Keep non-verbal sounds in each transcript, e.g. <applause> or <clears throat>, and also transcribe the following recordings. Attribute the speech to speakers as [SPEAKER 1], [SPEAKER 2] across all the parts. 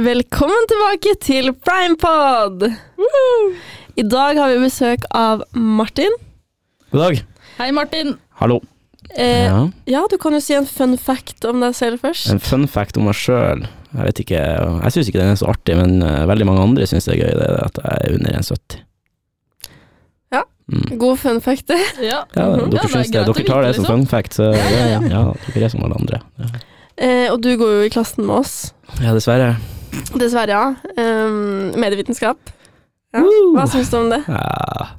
[SPEAKER 1] Velkommen tilbake til Primepod! I dag har vi besøk av Martin.
[SPEAKER 2] God dag.
[SPEAKER 3] Hei, Martin.
[SPEAKER 2] Hallo.
[SPEAKER 1] Eh, ja.
[SPEAKER 2] ja.
[SPEAKER 1] du kan jo si en fun fact om deg selv først.
[SPEAKER 2] En fun fact om meg sjøl. Jeg vet ikke, jeg syns ikke den er så artig, men eh, veldig mange andre syns det er gøy det er at jeg er under 1,70.
[SPEAKER 1] Ja.
[SPEAKER 2] Mm.
[SPEAKER 1] God fun fact. <laughs> det.
[SPEAKER 3] Ja.
[SPEAKER 2] Ja,
[SPEAKER 1] Mhm.
[SPEAKER 2] dere,
[SPEAKER 3] Ja, det er
[SPEAKER 2] syns det,
[SPEAKER 3] greit å
[SPEAKER 2] dere tar det
[SPEAKER 3] vite,
[SPEAKER 2] som
[SPEAKER 3] liksom.
[SPEAKER 2] fun fact,
[SPEAKER 3] <laughs>
[SPEAKER 2] så det,
[SPEAKER 3] ja,
[SPEAKER 2] ja,
[SPEAKER 3] ja.
[SPEAKER 2] dere er som alle andre. Ja,
[SPEAKER 1] Eh, og du går jo i klassen med oss.
[SPEAKER 2] ja dessverre.
[SPEAKER 1] Dessverre, ja. Eh, medievitenskap. Ja.
[SPEAKER 2] Woo!
[SPEAKER 1] Hva syns du om det?
[SPEAKER 2] Ja.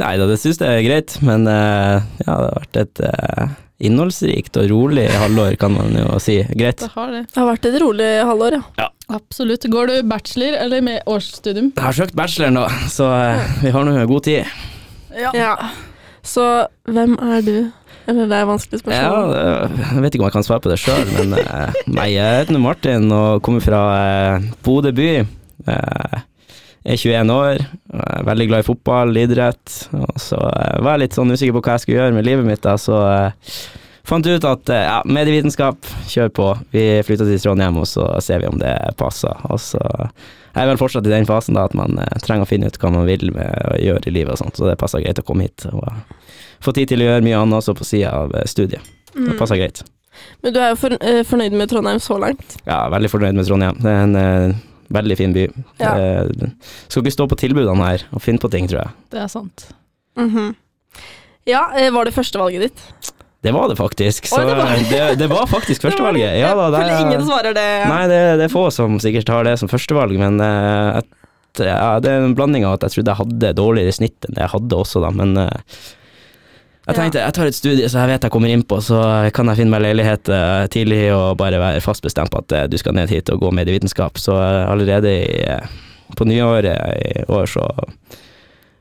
[SPEAKER 2] Nei da, det syns jeg er greit, men eh, ja, det har vært et eh, innholdsrikt og rolig halvår, kan man jo si. Greit.
[SPEAKER 3] Det har det.
[SPEAKER 1] Det har vært et rolig halvår, ja.
[SPEAKER 3] Absolutt. Går du bachelor eller med årsstudium?
[SPEAKER 2] Jeg har søkt bacheloren, da, så eh, vi har nå god tid.
[SPEAKER 3] Ja.
[SPEAKER 1] ja. Så hvem er du? Eller det er et vanskelig
[SPEAKER 2] Ja,
[SPEAKER 1] spørsmål.
[SPEAKER 2] det- jeg vet ikke om jeg kan svare på det sjøl, men eh, nei, jeg heter nå Martin og kommer fra eh, Bodø by. Eh, er 21 år, og er veldig glad i fotball, idrett. Og så eh, var jeg litt sånn usikker på hva jeg skulle gjøre med livet mitt, da, så eh, fant ut at eh, ja, medievitenskap, kjør på. Vi flytta til Trondheim, og så ser vi om det passer. Og så jeg er vel fortsatt i den fasen da, at man eh, trenger å finne ut hva man vil med å gjøre i livet og sånt, så det passer greit å komme hit. og eh, Få tid til å gjøre mye annet også på sida av eh, studiet. Det
[SPEAKER 1] Mm.
[SPEAKER 2] passer greit.
[SPEAKER 1] Men du er jo for, eh, fornøyd med Trondheim så langt.
[SPEAKER 2] Ja, veldig fornøyd med Trondheim. Det er en eh, veldig fin by.
[SPEAKER 1] Ja.
[SPEAKER 2] Eh, skal ikke stå på tilbudene her og finne på ting, tror jeg.
[SPEAKER 3] Det er sant.
[SPEAKER 1] Mhm. Ja, eh, var det førstevalget ditt?
[SPEAKER 2] Det var det faktisk.
[SPEAKER 1] Oi,
[SPEAKER 2] Så
[SPEAKER 1] det
[SPEAKER 2] det,
[SPEAKER 1] var-
[SPEAKER 2] var... det, var faktisk førstevalget.
[SPEAKER 1] <laughs> Det
[SPEAKER 2] Ja,
[SPEAKER 1] var
[SPEAKER 2] da,
[SPEAKER 1] det.
[SPEAKER 2] det,
[SPEAKER 1] Fordi ingen
[SPEAKER 2] er,
[SPEAKER 1] svarer det.
[SPEAKER 2] nei, det, det er få som sikkert har det som førstevalg, men eh, at, ja, det er en blanding av at jeg trodde jeg hadde dårligere snitt enn det jeg hadde også, da, men eh, jeg
[SPEAKER 1] Ja.
[SPEAKER 2] tenkte jeg tar et studie som jeg vet jeg kommer inn på, så kan jeg finne meg leilighet eh, tidlig og bare være fast bestemt på at eh, du skal ned hit og gå medievitenskap. Så eh, allerede i, eh, på nyåret i år så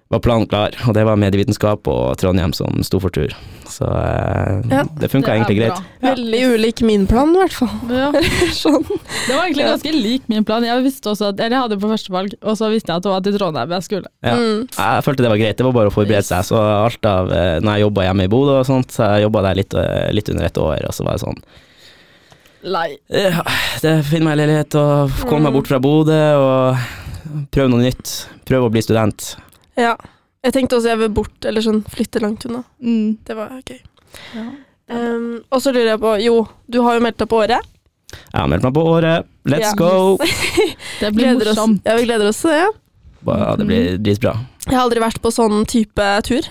[SPEAKER 2] var planen klar, og det var medievitenskap og Trondheim som sto for tur. Så eh,
[SPEAKER 1] Ja,
[SPEAKER 2] det funka
[SPEAKER 3] Det er
[SPEAKER 2] egentlig greit.
[SPEAKER 3] bra.
[SPEAKER 2] Ja.
[SPEAKER 1] Veldig ulik min plan, i hvert fall. <laughs>
[SPEAKER 3] Ja.
[SPEAKER 1] sånn.
[SPEAKER 3] Det var egentlig ganske lik min plan. Jeg visste også at, eller jeg hadde på førstevalg, og så visste jeg at det var til Trondheim jeg skulle.
[SPEAKER 2] Ja.
[SPEAKER 1] Mm.
[SPEAKER 2] Jeg følte det var greit, det var bare å forberede seg. Så alt av, eh, når jeg jobba hjemme i Bodø og sånt, så jeg jobba der litt, eh, litt under et år, og så var jeg sånn
[SPEAKER 3] Lei.
[SPEAKER 2] ja, det Finn meg en leilighet og komme meg bort fra Bodø og prøve noe nytt. Prøve å bli student.
[SPEAKER 1] Ja. Jeg tenkte også jeg vil bort, eller sånn flytte langt unna.
[SPEAKER 3] Mm.
[SPEAKER 1] Det var gøy.
[SPEAKER 3] Ja.
[SPEAKER 1] Um, og så lurer jeg på, jo, du har jo meldt deg på Året.
[SPEAKER 2] Jeg har meldt meg på Året, let's
[SPEAKER 1] Ja.
[SPEAKER 2] go! <laughs>
[SPEAKER 3] Det blir
[SPEAKER 1] Gleder oss-
[SPEAKER 3] morsomt.
[SPEAKER 1] Ja, vi gleder oss til det.
[SPEAKER 2] Ja, det blir dritbra.
[SPEAKER 1] Jeg har aldri vært på sånn type tur.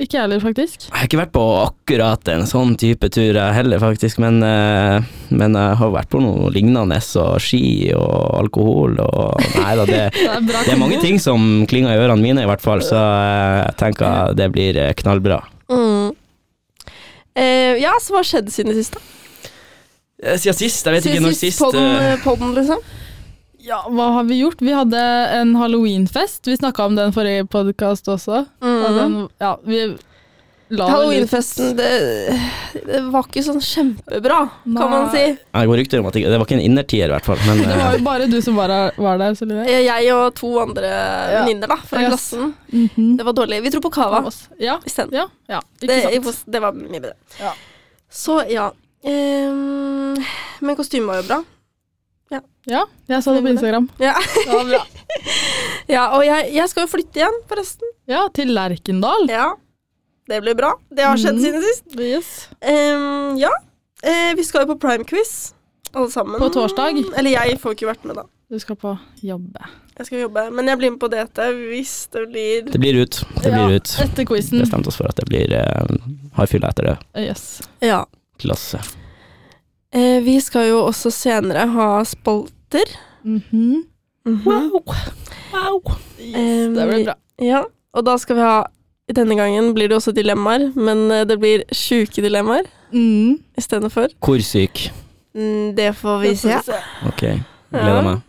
[SPEAKER 3] Ikke jeg heller, faktisk.
[SPEAKER 2] Jeg har ikke vært på akkurat en sånn type tur jeg heller, faktisk, men, eh, men jeg har vært på noe lignende, og ski og alkohol og Nei da, det
[SPEAKER 3] Det er bra.
[SPEAKER 2] Det er mange
[SPEAKER 3] kombo.
[SPEAKER 2] ting som klinger i ørene mine, i hvert fall, så eh, jeg tenker det blir eh, knallbra.
[SPEAKER 1] Mm. Eh, ja, så hva har skjedd siden det siste?
[SPEAKER 2] Eh, Siden sist, jeg vet ikke når sist eh.
[SPEAKER 1] på den, på den, liksom.
[SPEAKER 3] Ja, hva har vi gjort? Vi hadde en halloweenfest. Vi snakka om den forrige podkast også. Og
[SPEAKER 2] Mhm.
[SPEAKER 3] den,
[SPEAKER 1] Mm.
[SPEAKER 3] ja, vi la
[SPEAKER 1] Halloweenfesten, det, det var ikke sånn kjempebra, kan man si.
[SPEAKER 3] Nei.
[SPEAKER 2] Det går rykter om at det ikke- det var ikke en innertier, i hvert fall.
[SPEAKER 3] <laughs>
[SPEAKER 2] Men
[SPEAKER 3] Det var
[SPEAKER 2] eh,
[SPEAKER 3] jo bare du som var, var der, Celine.
[SPEAKER 1] Eh, Jeg og to andre
[SPEAKER 3] Ja.
[SPEAKER 1] venninner da, fra
[SPEAKER 3] Yes.
[SPEAKER 1] klassen.
[SPEAKER 3] Mhm.
[SPEAKER 1] Det var dårlig. Vi dro på Cava
[SPEAKER 3] Ja,
[SPEAKER 1] isteden.
[SPEAKER 3] ja, ja. Ikke
[SPEAKER 1] Det,
[SPEAKER 3] sant.
[SPEAKER 1] det var mye bedre.
[SPEAKER 3] Ja.
[SPEAKER 1] Så ja. Ehm, men kostymet var jo bra.
[SPEAKER 3] Ja, jeg så det på Instagram. <laughs>
[SPEAKER 1] Ja,
[SPEAKER 3] Det var bra.
[SPEAKER 1] ja Og jeg, jeg skal jo flytte igjen, forresten.
[SPEAKER 3] Ja, til Lerkendal.
[SPEAKER 1] Ja, Det blir bra. Det har skjedd
[SPEAKER 3] Mhm.
[SPEAKER 1] siden sist.
[SPEAKER 3] Yes.
[SPEAKER 1] Ehm, ja. Eh, vi skal jo på primequiz, alle sammen.
[SPEAKER 3] På torsdag.
[SPEAKER 1] Eller jeg får ikke vært med, da.
[SPEAKER 3] Du skal på jobbe.
[SPEAKER 1] Jeg skal jobbe. Men jeg blir med på DT hvis det blir
[SPEAKER 2] det blir ut. Det
[SPEAKER 3] Ja,
[SPEAKER 2] blir ut.
[SPEAKER 3] Etter quizen.
[SPEAKER 2] Bestemte oss for at det blir eh, hard fylle etter det.
[SPEAKER 3] Yes.
[SPEAKER 1] Ja.
[SPEAKER 2] Klasse.
[SPEAKER 1] Eh, vi skal jo også senere ha spalter.
[SPEAKER 3] Mhm. yes.
[SPEAKER 1] Ehm,
[SPEAKER 3] Det blir bra.
[SPEAKER 1] Ja, og da skal vi ha Denne gangen blir det også dilemmaer, men eh, det blir sjuke dilemmaer
[SPEAKER 3] Mm.
[SPEAKER 1] i stedet for.
[SPEAKER 2] Hvor syk?
[SPEAKER 1] Mm, Det får vi se.
[SPEAKER 2] Ok, gleder meg.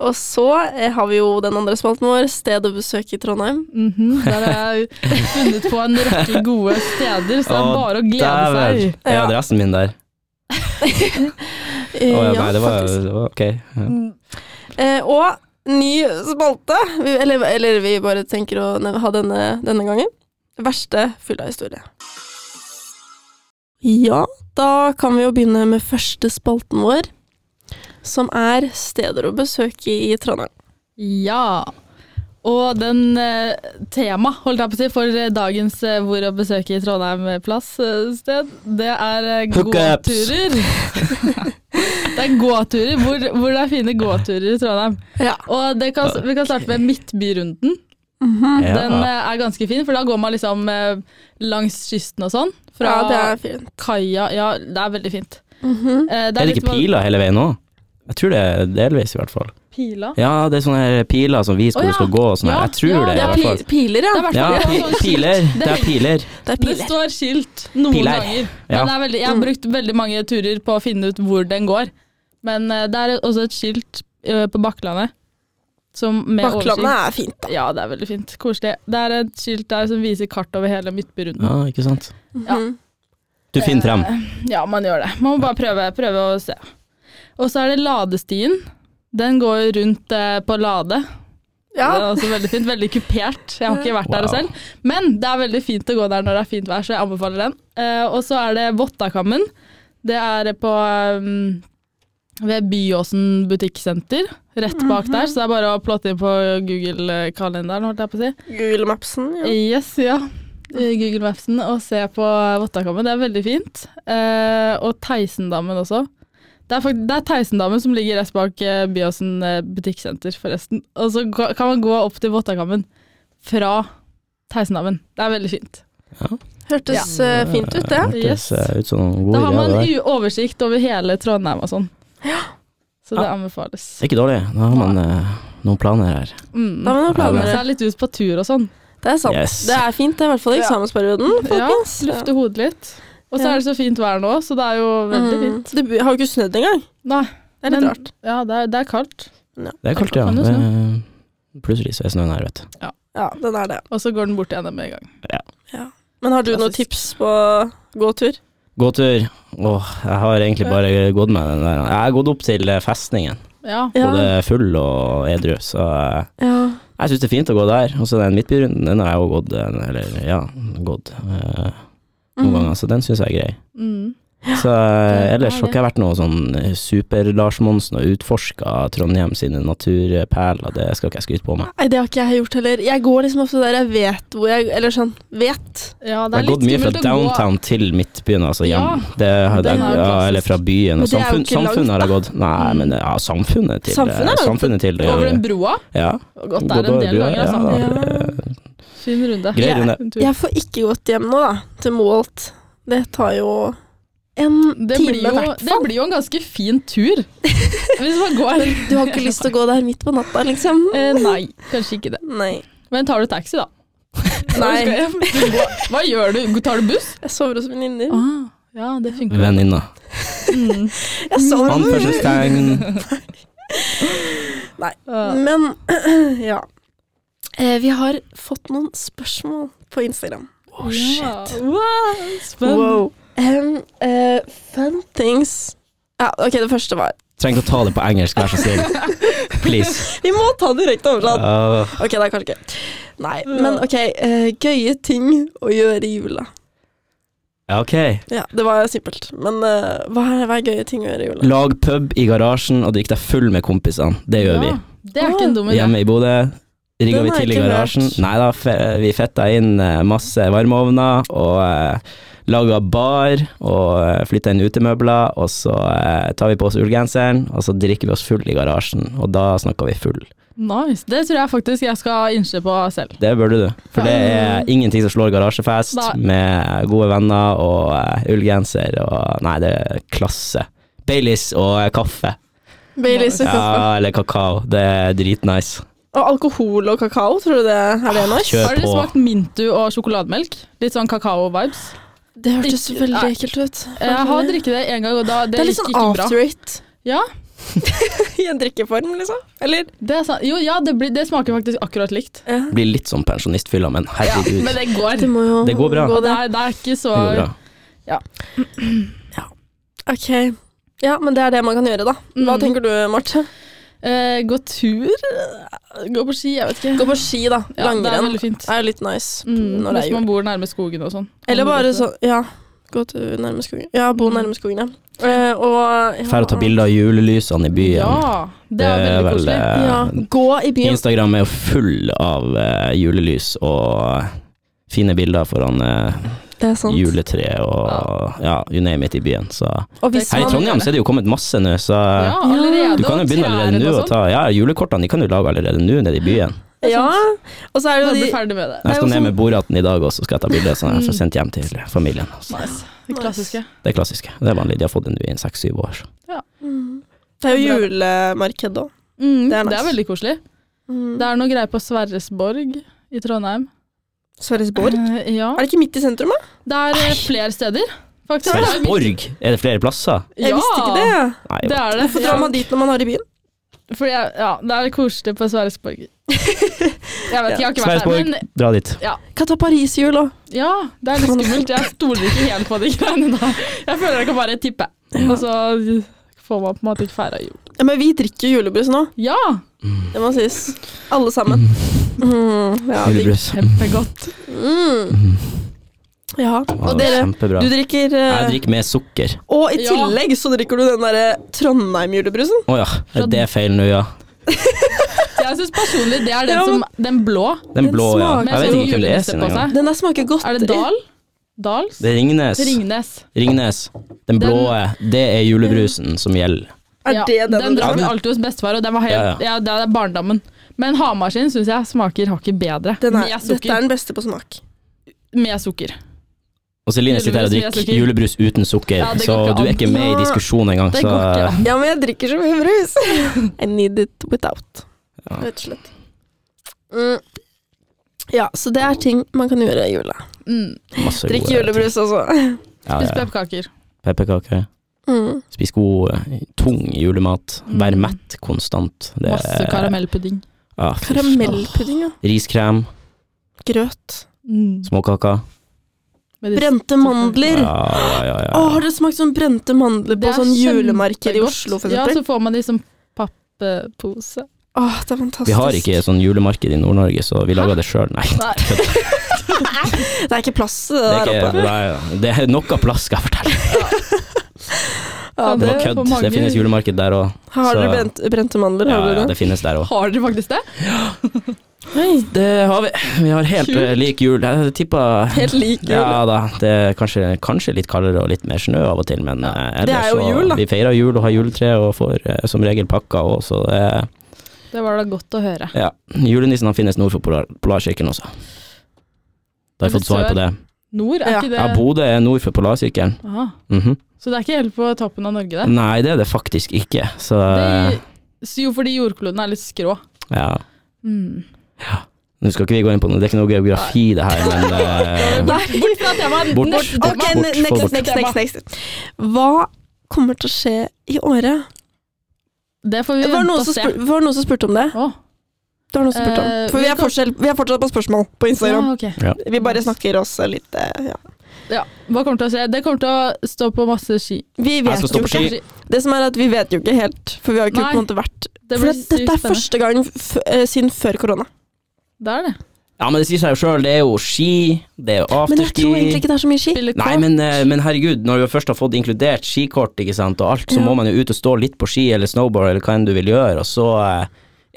[SPEAKER 1] Og så eh, har vi jo den andre spalten vår, sted å besøke i Trondheim.
[SPEAKER 3] Mhm. Der har jeg funnet på en rekke gode steder, så det er
[SPEAKER 2] Å,
[SPEAKER 3] bare å glede
[SPEAKER 2] Dæven!
[SPEAKER 3] seg.
[SPEAKER 2] Er
[SPEAKER 1] Ja.
[SPEAKER 2] adressen min der?
[SPEAKER 1] Eh,
[SPEAKER 2] Å ja,
[SPEAKER 1] ja,
[SPEAKER 2] nei, det var
[SPEAKER 1] faktisk.
[SPEAKER 2] det var- ok. Ja.
[SPEAKER 3] Mm.
[SPEAKER 1] Eh, Og ny spalte, vi- eller, eller vi bare tenker å nev- ha denne denne gangen. Verste fulla historie. Ja, da kan vi jo begynne med første spalten vår. som er steder å besøke i Trondheim.
[SPEAKER 3] Ja. Og den eh, tema, holdt jeg på å si, for eh, dagens eh, Hvor å besøke i Trondheim eh, plass-sted, det er eh,
[SPEAKER 2] Hookups.
[SPEAKER 3] gåturer. <laughs> det er gåturer. Hvor, hvor det er fine gåturer i Trondheim.
[SPEAKER 1] Ja.
[SPEAKER 3] Og det kan, vi kan starte med Midtbyrunden.
[SPEAKER 2] Ja.
[SPEAKER 3] Den eh, er ganske fin, for da går man liksom eh, langs kysten og sånn. Fra
[SPEAKER 1] det er fint.
[SPEAKER 3] kaia Ja, det er veldig fint.
[SPEAKER 1] Mhm.
[SPEAKER 3] Eh,
[SPEAKER 2] er det
[SPEAKER 3] litt
[SPEAKER 2] ikke
[SPEAKER 3] van-
[SPEAKER 2] piler hele veien òg? Jeg tror det er delvis, i hvert fall.
[SPEAKER 3] Pila?
[SPEAKER 2] Ja, det er sånne her piler som viser hvor
[SPEAKER 3] Å,
[SPEAKER 2] du skal
[SPEAKER 3] ja.
[SPEAKER 2] gå og sånn. her.
[SPEAKER 3] Ja,
[SPEAKER 2] Jeg tror
[SPEAKER 3] ja,
[SPEAKER 2] det,
[SPEAKER 1] Det
[SPEAKER 2] i
[SPEAKER 1] er
[SPEAKER 2] hvert fall.
[SPEAKER 1] pi piler, ja.
[SPEAKER 3] Det er i hvert
[SPEAKER 2] Ja,
[SPEAKER 3] fall-
[SPEAKER 2] pi
[SPEAKER 3] det er sånn
[SPEAKER 2] piler.
[SPEAKER 3] skilt.
[SPEAKER 2] Det er piler.
[SPEAKER 1] Det er
[SPEAKER 3] Det
[SPEAKER 1] piler.
[SPEAKER 3] står skilt noen
[SPEAKER 2] Pilar.
[SPEAKER 3] ganger. Men
[SPEAKER 2] Ja.
[SPEAKER 3] det er veldig, jeg har brukt veldig mange turer på å finne ut hvor den går. Men eh, det er også et skilt eh, på Bakklandet. Som med
[SPEAKER 1] Bakklandet
[SPEAKER 3] oversikt.
[SPEAKER 1] er fint, da.
[SPEAKER 3] Ja, det er veldig fint. Koselig. Det er et skilt der som viser kart over hele Midtbyrunden.
[SPEAKER 2] Ja, ikke sant.
[SPEAKER 3] Ja.
[SPEAKER 1] Mhm.
[SPEAKER 2] Du finner frem.
[SPEAKER 3] Ja, man gjør det. Man må bare prøve, prøve å se. Og så er det ladestien. Den går rundt eh, på Lade. Det
[SPEAKER 1] Ja.
[SPEAKER 3] er også veldig fint. Veldig kupert. Jeg har ikke vært der
[SPEAKER 2] Wow.
[SPEAKER 3] selv. Men det er veldig fint å gå der når det er fint vær, så jeg anbefaler den. Eh, og så er det Vottakammen. Det er på um, ved Byåsen butikksenter. Rett bak der, så det er bare å plotte inn på Google-kalenderen, holdt jeg på å si.
[SPEAKER 1] Google Mapsen. Ja.
[SPEAKER 3] Yes, ja. I Google Mapsen og se på Vottakammen. Det er veldig fint. Eh, og Theisendammen også. Det er, fakt- det er Theisendammen som ligger rett bak eh, Byåsen eh, butikksenter, forresten. Og så ga- kan man gå opp til Vottakammen fra Theisendammen. Det er veldig fint.
[SPEAKER 1] Hørtes eh, fint ut, det.
[SPEAKER 2] Hørtes eh, ut som noen
[SPEAKER 3] Da
[SPEAKER 2] gode
[SPEAKER 3] har man
[SPEAKER 2] ideer. det der.
[SPEAKER 3] u- oversikt over hele Trondheim og sånn. Så det
[SPEAKER 2] Ja.
[SPEAKER 3] anbefales.
[SPEAKER 2] Det er ikke dårlig. Da har man eh, noen planer her.
[SPEAKER 3] Mm.
[SPEAKER 1] Da har man noen
[SPEAKER 3] Komme
[SPEAKER 1] planer.
[SPEAKER 3] seg litt ut på tur og sånn.
[SPEAKER 1] Det er sant.
[SPEAKER 2] Yes.
[SPEAKER 1] Det er fint, det er i hvert fall i eksamensperioden,
[SPEAKER 3] Ja,
[SPEAKER 1] folkens.
[SPEAKER 3] Lufte hodet litt. Og så
[SPEAKER 1] Ja.
[SPEAKER 3] er det så fint vær nå, så det er jo veldig
[SPEAKER 1] Mm.
[SPEAKER 3] fint.
[SPEAKER 1] Det har jo ikke snødd engang.
[SPEAKER 3] Nei,
[SPEAKER 1] Det er litt
[SPEAKER 3] men-
[SPEAKER 1] rart.
[SPEAKER 3] Ja, det er, det er kaldt.
[SPEAKER 2] Det er kaldt, ja.
[SPEAKER 3] Kan jo
[SPEAKER 2] Det er- Plutselig så er snøen her, vet du.
[SPEAKER 1] Ja, den er det.
[SPEAKER 3] Og så går den bort igjen med en gang.
[SPEAKER 1] Men har du noen
[SPEAKER 3] Klassisk.
[SPEAKER 1] tips på gåtur?
[SPEAKER 2] Gåtur. Åh, jeg har egentlig bare gått med den der. Jeg har gått opp til eh, festningen,
[SPEAKER 3] Ja.
[SPEAKER 2] både full og edru, så eh,
[SPEAKER 1] ja.
[SPEAKER 2] jeg syns det er fint å gå der. Og så den midtbyrunden, den har jeg òg gått, eh, eller ja, gått eh, noen
[SPEAKER 1] Mhm.
[SPEAKER 2] ganger, så den syns jeg er grei.
[SPEAKER 3] Mm.
[SPEAKER 2] Så eh,
[SPEAKER 3] det
[SPEAKER 2] ellers
[SPEAKER 3] er
[SPEAKER 2] har ikke jeg vært noe sånn eh, super-Lars Monsen og utforska Trondheim sine naturperler, det skal ikke jeg skryte på meg.
[SPEAKER 1] Nei, det har ikke jeg gjort heller. Jeg går liksom ofte der jeg vet hvor jeg Eller sånn, vet.
[SPEAKER 3] ja, det
[SPEAKER 2] Jeg
[SPEAKER 3] er
[SPEAKER 2] har gått
[SPEAKER 3] litt
[SPEAKER 2] mye fra
[SPEAKER 3] skummelt å gå.
[SPEAKER 2] downtown til midtbyen, altså hjem.
[SPEAKER 3] Ja,
[SPEAKER 2] det, har
[SPEAKER 3] den
[SPEAKER 2] jeg-
[SPEAKER 3] er jo
[SPEAKER 2] ja,
[SPEAKER 3] klassisk.
[SPEAKER 2] eller fra byen.
[SPEAKER 1] Men
[SPEAKER 2] Og
[SPEAKER 1] det er jo
[SPEAKER 2] samfunn,
[SPEAKER 1] ikke langt,
[SPEAKER 2] samfunnet har jeg gått Nei,
[SPEAKER 3] Mm.
[SPEAKER 2] men det- ja, samfunnet til
[SPEAKER 1] Samfunnet er langt.
[SPEAKER 2] Samfunnet til det,
[SPEAKER 3] Over den broa.
[SPEAKER 2] ja.
[SPEAKER 3] Og Gått der en
[SPEAKER 2] eh, over
[SPEAKER 3] del
[SPEAKER 2] brua,
[SPEAKER 3] ganger, altså.
[SPEAKER 2] Ja,
[SPEAKER 1] Ja.
[SPEAKER 2] det-
[SPEAKER 3] Fin runde.
[SPEAKER 2] Grei
[SPEAKER 3] Ja,
[SPEAKER 2] runde.
[SPEAKER 3] en tur.
[SPEAKER 1] Jeg får ikke gått hjem nå, da. Til Moholt. Det tar jo en
[SPEAKER 3] Det
[SPEAKER 1] time,
[SPEAKER 3] blir,
[SPEAKER 1] i
[SPEAKER 3] jo,
[SPEAKER 1] hvert
[SPEAKER 3] det
[SPEAKER 1] fall.
[SPEAKER 3] blir jo en ganske fin tur. Hvis man går
[SPEAKER 1] Du har ikke lyst til å gå der midt på natta, liksom?
[SPEAKER 3] eh, Nei, kanskje ikke det.
[SPEAKER 1] Nei.
[SPEAKER 3] Men tar du taxi, da?
[SPEAKER 1] Nei.
[SPEAKER 3] Når du skal hjem? Du går- Hva gjør du? Tar du buss?
[SPEAKER 1] Jeg sover hos venninner.
[SPEAKER 3] Ah, ja, det funker.
[SPEAKER 2] Venninna.
[SPEAKER 3] Mm.
[SPEAKER 1] Jeg sover
[SPEAKER 2] Anførselstegn.
[SPEAKER 3] Ah,
[SPEAKER 1] Men <clears throat> ja. Eh, vi har fått noen spørsmål på Instagram.
[SPEAKER 2] Å, shit.
[SPEAKER 3] Ja. Oh, Wow, spennende.
[SPEAKER 1] Um, eh, fun things ja, Ok, det første var <laughs>
[SPEAKER 2] Trenger ikke å ta det på engelsk, vær så snill. Please.
[SPEAKER 1] Vi må ta direkte oversatt.
[SPEAKER 2] Ja.
[SPEAKER 1] Ok, det er kanskje gøy. Nei, men ok. eh, gøye ting å gjøre i jula.
[SPEAKER 2] Ja, ok.
[SPEAKER 1] Ja, Det var simpelt, men eh, hva, er, hva er gøye ting å gjøre i jula?
[SPEAKER 2] Lag pub i garasjen og drikk deg full med kompisene. Det gjør vi.
[SPEAKER 3] Ja, Det er ikke en dum idé.
[SPEAKER 2] Hjemme i Bodø. Rigga
[SPEAKER 1] Den
[SPEAKER 2] vi
[SPEAKER 1] har jeg
[SPEAKER 2] til i
[SPEAKER 1] ikke
[SPEAKER 2] garasjen.
[SPEAKER 1] hørt.
[SPEAKER 2] Nei da, fe- vi fetta inn eh, masse varmeovner og eh, laga bar og eh, flytta inn utemøbler. Og så eh, tar vi på oss ullgenseren, og så drikker vi oss full i garasjen. Og da snakker vi full.
[SPEAKER 3] Nice. Det tror jeg faktisk jeg skal innse på selv.
[SPEAKER 2] Det burde du, for det er ingenting som slår garasjefest
[SPEAKER 3] Nei.
[SPEAKER 2] med gode venner og eh, ullgenser og Nei, det er klasse. Baileys og eh,
[SPEAKER 1] <laughs>
[SPEAKER 2] kaffe.
[SPEAKER 1] Baileys og kaffe.
[SPEAKER 2] Ja, eller kakao. Det er dritnice.
[SPEAKER 1] Og alkohol og kakao, tror du det er det nice?
[SPEAKER 2] Ah, Kjør
[SPEAKER 3] Har dere
[SPEAKER 2] eh, på.
[SPEAKER 3] smakt Mintu og sjokolademelk? Litt sånn kakao-vibes.
[SPEAKER 1] Det hørtes
[SPEAKER 3] Ikke-
[SPEAKER 1] veldig
[SPEAKER 3] nei.
[SPEAKER 1] ekkelt ut.
[SPEAKER 3] Jeg har drikket det en gang, og da, eh, det,
[SPEAKER 1] Det er litt
[SPEAKER 3] gikk
[SPEAKER 1] sånn
[SPEAKER 3] ikke bra.
[SPEAKER 1] after it
[SPEAKER 3] Ja,
[SPEAKER 1] i en drikkeform, liksom. Eller?
[SPEAKER 3] det, er sant. jo, ja det, blir, det smaker faktisk akkurat likt.
[SPEAKER 1] Ja.
[SPEAKER 2] Blir litt sånn pensjonistfylla, men
[SPEAKER 3] Ja,
[SPEAKER 2] herregud.
[SPEAKER 3] men det går.
[SPEAKER 1] Det må jo
[SPEAKER 2] Det går bra.
[SPEAKER 1] gå,
[SPEAKER 3] det,
[SPEAKER 1] det.
[SPEAKER 3] er, det er ikke så
[SPEAKER 2] det går bra.
[SPEAKER 1] Ok. Ja, men det er det man kan gjøre, da. Hva
[SPEAKER 3] Mm.
[SPEAKER 1] tenker du, Marte?
[SPEAKER 3] eh, Gå tur? Gå på ski? Jeg vet ikke.
[SPEAKER 1] Gå på ski, da.
[SPEAKER 3] Ja, det er
[SPEAKER 1] Langrenn
[SPEAKER 3] veldig fint.
[SPEAKER 1] er jo litt nice
[SPEAKER 3] Mm,
[SPEAKER 1] når det
[SPEAKER 3] hvis
[SPEAKER 1] er jul.
[SPEAKER 3] man bor nærme skogen og sånn.
[SPEAKER 1] Eller bare sånn, ja. Gå tur nærme skogen. Ja, bo nærme skogen, ja. Eh, og ja.
[SPEAKER 2] Fær og ta bilder av julelysene i byen.
[SPEAKER 3] Ja, det er veldig
[SPEAKER 2] vel,
[SPEAKER 3] koselig.
[SPEAKER 2] eh,
[SPEAKER 1] Ja, gå i byen.
[SPEAKER 2] Instagram er jo full av eh, julelys og fine bilder foran eh,
[SPEAKER 1] Det er sant.
[SPEAKER 2] juletreet og ja, you name it i byen. Så.
[SPEAKER 1] Og hvis
[SPEAKER 2] Her i
[SPEAKER 1] man,
[SPEAKER 2] Trondheim så er det jo kommet masse nå, så
[SPEAKER 3] Sånn. Ja, allerede.
[SPEAKER 2] du kan jo
[SPEAKER 3] og
[SPEAKER 2] begynne allerede
[SPEAKER 3] trærne
[SPEAKER 2] nå
[SPEAKER 3] og
[SPEAKER 2] å
[SPEAKER 3] sånn.
[SPEAKER 2] ta Ja, julekortene de kan du lage allerede nå nede i byen.
[SPEAKER 1] ja, og så er det jo
[SPEAKER 3] Bare bli
[SPEAKER 1] de
[SPEAKER 3] ferdig med det.
[SPEAKER 1] Det er
[SPEAKER 2] Jeg skal
[SPEAKER 1] jo
[SPEAKER 2] ned
[SPEAKER 1] sånn-
[SPEAKER 2] med bordaten i dag også, skal jeg ta bilde sånn
[SPEAKER 3] Mm.
[SPEAKER 2] jeg får sendt hjem til familien. Så
[SPEAKER 3] Nice. Det
[SPEAKER 1] Nice.
[SPEAKER 3] klassiske.
[SPEAKER 2] Det er klassiske. Det er vanlig. De har fått det nå i seks-syv år. så.
[SPEAKER 1] Mm. Det er jo julemarked òg.
[SPEAKER 3] Mm,
[SPEAKER 1] Det er nice.
[SPEAKER 3] Det er veldig koselig. Det er noe greier på Sverresborg i Trondheim.
[SPEAKER 1] Sverresborg?
[SPEAKER 3] Eh, ja.
[SPEAKER 1] Er det ikke midt i sentrum, da?
[SPEAKER 3] Det er eh, flere steder, faktisk.
[SPEAKER 2] Sverresborg! Er det flere plasser?
[SPEAKER 1] Jeg visste ikke det.
[SPEAKER 2] Nei,
[SPEAKER 3] Det er det.
[SPEAKER 1] Hvorfor drar man dit når man har i byen?
[SPEAKER 3] Fordi jeg, ja, det er
[SPEAKER 1] <laughs>
[SPEAKER 3] koselig på Sverresborg. Jeg vet ikke, jeg har ikke vært der.
[SPEAKER 2] Sverresborg,
[SPEAKER 3] Men
[SPEAKER 2] dra dit.
[SPEAKER 1] Kan ta Paris-jul òg.
[SPEAKER 3] ja, det er litt skummelt. Jeg stoler ikke helt på de greiene der. Jeg føler jeg kan bare tippe. Og så får man på en måte ikke feira jul.
[SPEAKER 1] Ja, men vi drikker jo julebrus nå,
[SPEAKER 3] Ja!
[SPEAKER 1] det må sies. Alle sammen. Mm, ja, digg.
[SPEAKER 2] Julebrus.
[SPEAKER 3] Kjempegodt.
[SPEAKER 1] Mm. Ja.
[SPEAKER 2] Ja,
[SPEAKER 1] Og
[SPEAKER 2] det var
[SPEAKER 1] dere,
[SPEAKER 2] Kjempebra.
[SPEAKER 1] du drikker eh,
[SPEAKER 2] Jeg drikker med sukker.
[SPEAKER 1] Og i
[SPEAKER 3] Ja.
[SPEAKER 1] tillegg så drikker du den derre Trondheim-julebrusen.
[SPEAKER 2] Å ja, er det feil nå, ja?
[SPEAKER 3] Jeg syns personlig det er den,
[SPEAKER 1] Ja, men-
[SPEAKER 3] som, den blå.
[SPEAKER 2] Den
[SPEAKER 1] Den
[SPEAKER 2] blå, ja.
[SPEAKER 1] smaker
[SPEAKER 2] Jeg vet
[SPEAKER 3] sånn
[SPEAKER 2] ikke hvem det er
[SPEAKER 3] julenisse
[SPEAKER 2] sin
[SPEAKER 3] på
[SPEAKER 2] engang.
[SPEAKER 3] seg.
[SPEAKER 1] Den der smaker godt.
[SPEAKER 3] Er det Dal? Dals?
[SPEAKER 2] Det er Ringnes.
[SPEAKER 3] Ringnes.
[SPEAKER 2] Ringnes. Den blå, det er julebrusen som gjelder.
[SPEAKER 1] Er
[SPEAKER 3] Ja,
[SPEAKER 1] det den,
[SPEAKER 3] den
[SPEAKER 1] du
[SPEAKER 3] drakk
[SPEAKER 1] drikker?
[SPEAKER 3] vi alltid hos bestefar, og den var helt,
[SPEAKER 2] Ja,
[SPEAKER 3] ja, det er barndommen. Men Hamar sin syns jeg smaker hakket bedre.
[SPEAKER 1] Den er,
[SPEAKER 3] med
[SPEAKER 1] dette er
[SPEAKER 3] sukker.
[SPEAKER 1] den beste på smak.
[SPEAKER 3] Med sukker.
[SPEAKER 2] Og Celine sitter her og
[SPEAKER 3] Julebrus med
[SPEAKER 2] drikker
[SPEAKER 3] sukker.
[SPEAKER 2] julebrus uten sukker,
[SPEAKER 3] Ja, det går
[SPEAKER 2] så
[SPEAKER 3] ikke
[SPEAKER 2] du er
[SPEAKER 3] an.
[SPEAKER 2] ikke med i diskusjonen engang.
[SPEAKER 3] Det
[SPEAKER 2] Så
[SPEAKER 3] går ikke an.
[SPEAKER 1] Ja, men jeg drikker så mye
[SPEAKER 2] <laughs>
[SPEAKER 1] brus. I need it without,
[SPEAKER 2] Ja.
[SPEAKER 1] rett og slett. Mm. Ja, så det er ting man kan gjøre i jula.
[SPEAKER 3] Mm.
[SPEAKER 2] masse
[SPEAKER 1] Drikke
[SPEAKER 2] gode ting.
[SPEAKER 1] julebrus også.
[SPEAKER 2] Ja,
[SPEAKER 3] Spis
[SPEAKER 2] ja.
[SPEAKER 3] pepperkaker.
[SPEAKER 2] Pepperkaker.
[SPEAKER 1] Mm.
[SPEAKER 2] Spis god, eh, tung julemat. Vær
[SPEAKER 3] Mm.
[SPEAKER 2] mett konstant. Det er-
[SPEAKER 3] Masse karamellpudding.
[SPEAKER 2] Ja, fy faen.
[SPEAKER 1] Karamellpudding, ja.
[SPEAKER 2] Riskrem,
[SPEAKER 1] Grøt.
[SPEAKER 3] Mm.
[SPEAKER 2] småkaker.
[SPEAKER 3] Med de-
[SPEAKER 1] Brente
[SPEAKER 2] Ja,
[SPEAKER 1] mandler.
[SPEAKER 2] ja, ja.
[SPEAKER 1] Å,
[SPEAKER 2] ja.
[SPEAKER 1] har det smakt sånn brente mandler på
[SPEAKER 3] Det er
[SPEAKER 1] sånn julemarked i
[SPEAKER 3] kjempegodt.
[SPEAKER 1] Oslo, for
[SPEAKER 3] Ja,
[SPEAKER 1] eksempel?
[SPEAKER 3] så får man de som papppose.
[SPEAKER 1] Åh, det er fantastisk.
[SPEAKER 2] Vi har ikke sånn julemarked i Nord-Norge, så vi lager det sjøl. Nei, <laughs>
[SPEAKER 3] Nei.
[SPEAKER 1] Det er ikke plass til det,
[SPEAKER 2] det er,
[SPEAKER 1] der
[SPEAKER 2] ikke,
[SPEAKER 1] oppe.
[SPEAKER 2] nei, det er nok av plass, skal jeg fortelle.
[SPEAKER 1] Ja,
[SPEAKER 2] Det
[SPEAKER 1] det,
[SPEAKER 2] var
[SPEAKER 3] er for
[SPEAKER 2] kødd.
[SPEAKER 3] mange.
[SPEAKER 2] Det finnes julemarked der òg.
[SPEAKER 1] har dere
[SPEAKER 2] så-
[SPEAKER 1] brent, brente mandler?
[SPEAKER 2] Ja,
[SPEAKER 1] Har dere
[SPEAKER 2] ja,
[SPEAKER 1] det?
[SPEAKER 2] det finnes der òg.
[SPEAKER 3] Har dere faktisk det?
[SPEAKER 2] Det har vi. Vi har helt
[SPEAKER 3] Kult.
[SPEAKER 2] eh, lik jul. Jeg tippa
[SPEAKER 1] Helt lik jul.
[SPEAKER 2] Ja da, det er kanskje, kanskje litt kaldere og litt mer snø av og til, men eh,
[SPEAKER 1] Det
[SPEAKER 2] ellers
[SPEAKER 1] er jo
[SPEAKER 2] så
[SPEAKER 1] jul, da.
[SPEAKER 2] Vi feirer jul og har juletre og får eh, som regel pakker òg, så det er-
[SPEAKER 3] Det var da godt å høre.
[SPEAKER 2] ja. Julenissen han finnes nord for polar, Polarsirkelen også. Da har jeg
[SPEAKER 3] Er det
[SPEAKER 2] fått svar på det.
[SPEAKER 3] Nord, er
[SPEAKER 1] Ja.
[SPEAKER 3] ikke det
[SPEAKER 2] Ja, Bodø er nord for Polarsirkelen.
[SPEAKER 3] Aha.
[SPEAKER 2] Mhm.
[SPEAKER 3] Så det er ikke helt på toppen av Norge, det?
[SPEAKER 2] Nei, det er det faktisk ikke, så
[SPEAKER 3] det så jo, fordi jordkloden er litt skrå.
[SPEAKER 2] ja.
[SPEAKER 3] Mm.
[SPEAKER 2] Nå skal ikke vi gå inn på noe, det er ikke noe geografi det
[SPEAKER 1] <laughs>
[SPEAKER 2] her, men eh,
[SPEAKER 3] Bort, bort fra temaet.
[SPEAKER 2] Bort.
[SPEAKER 3] Neste
[SPEAKER 1] Ok,
[SPEAKER 3] tema.
[SPEAKER 2] Bort,
[SPEAKER 1] ne-
[SPEAKER 2] få
[SPEAKER 1] next,
[SPEAKER 2] bort.
[SPEAKER 1] next, next, next. Hva kommer til å skje i året?
[SPEAKER 3] Det får vi
[SPEAKER 1] Det var
[SPEAKER 3] vente
[SPEAKER 1] noen
[SPEAKER 3] og
[SPEAKER 1] som,
[SPEAKER 3] se.
[SPEAKER 1] spur, var det noen som spurte om det.
[SPEAKER 3] Å,
[SPEAKER 1] det var noen som spurte om.
[SPEAKER 3] Eh,
[SPEAKER 1] For
[SPEAKER 3] vi
[SPEAKER 1] vi er,
[SPEAKER 3] kan-
[SPEAKER 1] fortsatt, vi er fortsatt på spørsmål på Instagram.
[SPEAKER 3] ja, ok.
[SPEAKER 1] Vi bare snakker oss litt eh, ja.
[SPEAKER 3] Ja, hva kommer til å skje? Det kommer til å stå på masse ski.
[SPEAKER 1] Vi
[SPEAKER 2] Jeg skal
[SPEAKER 1] vet
[SPEAKER 2] stå
[SPEAKER 1] jo
[SPEAKER 2] på ski.
[SPEAKER 1] ikke Det som er at vi vet jo ikke helt, for vi har jo ikke
[SPEAKER 3] Nei.
[SPEAKER 1] på en måte vært
[SPEAKER 3] Det
[SPEAKER 1] For
[SPEAKER 3] blir
[SPEAKER 1] at dette er første gang f eh, siden før korona.
[SPEAKER 3] Det er det.
[SPEAKER 2] Ja, men det sier seg jo sjøl, det er jo ski, det er jo
[SPEAKER 1] Men jeg
[SPEAKER 2] afterski.
[SPEAKER 1] tror egentlig ikke det er så mye ski.
[SPEAKER 3] Spille
[SPEAKER 2] Nei,
[SPEAKER 3] kort.
[SPEAKER 2] men, eh, men herregud, når du først har fått inkludert skikort ikke sant, og alt, så
[SPEAKER 1] Ja.
[SPEAKER 2] må man jo ut og stå litt på ski eller snowboard eller hva enn du vil gjøre, og så eh,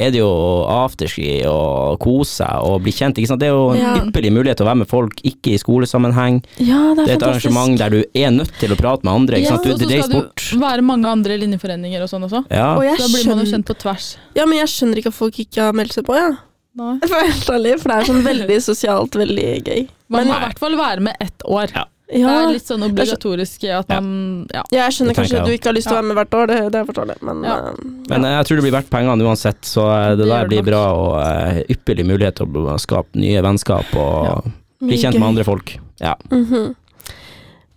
[SPEAKER 2] er det jo afterski og kose seg og bli kjent. Ikke sant? Det er jo en
[SPEAKER 1] Ja.
[SPEAKER 2] ypperlig mulighet til å være med folk, ikke i skolesammenheng.
[SPEAKER 1] Ja, det
[SPEAKER 2] Det
[SPEAKER 1] er
[SPEAKER 2] er et
[SPEAKER 1] fantastisk.
[SPEAKER 2] arrangement der du er nødt til å prate med andre. Ikke
[SPEAKER 1] Ja,
[SPEAKER 2] sant?
[SPEAKER 3] Og
[SPEAKER 2] Du,
[SPEAKER 3] så
[SPEAKER 2] du reiser
[SPEAKER 3] skal
[SPEAKER 2] bort.
[SPEAKER 3] du være mange andre linjeforeninger og sånn også.
[SPEAKER 2] Ja.
[SPEAKER 1] Og
[SPEAKER 3] Da
[SPEAKER 1] jeg
[SPEAKER 3] blir man jo
[SPEAKER 1] skjønner,
[SPEAKER 3] kjent på tvers.
[SPEAKER 1] ja, men jeg skjønner ikke at folk ikke har meldt seg på, ja. <laughs>
[SPEAKER 3] Nei.
[SPEAKER 1] for å være helt ærlig. For det er sånn veldig sosialt, veldig gøy. Men-
[SPEAKER 3] Man må i hvert fall være med ett år.
[SPEAKER 2] Ja.
[SPEAKER 3] Det
[SPEAKER 1] Ja,
[SPEAKER 3] er litt sånn obligatorisk at
[SPEAKER 2] Ja.
[SPEAKER 3] man ja. <laughs>
[SPEAKER 1] ja jeg skjønner
[SPEAKER 2] Det tenker
[SPEAKER 1] kanskje
[SPEAKER 2] jeg
[SPEAKER 1] at du ikke har lyst til å være med hvert år, det, det er forståelig, men
[SPEAKER 3] Ja.
[SPEAKER 1] eh,
[SPEAKER 2] Men eh, jeg tror det blir verdt pengene uansett, så eh, det
[SPEAKER 3] Det
[SPEAKER 2] der
[SPEAKER 3] gjør det
[SPEAKER 2] blir bra og eh, ypperlig mulighet til å skape nye vennskap og bli
[SPEAKER 1] mye
[SPEAKER 2] kjent
[SPEAKER 1] gøy.
[SPEAKER 2] med andre folk. Ja.
[SPEAKER 1] Mhm.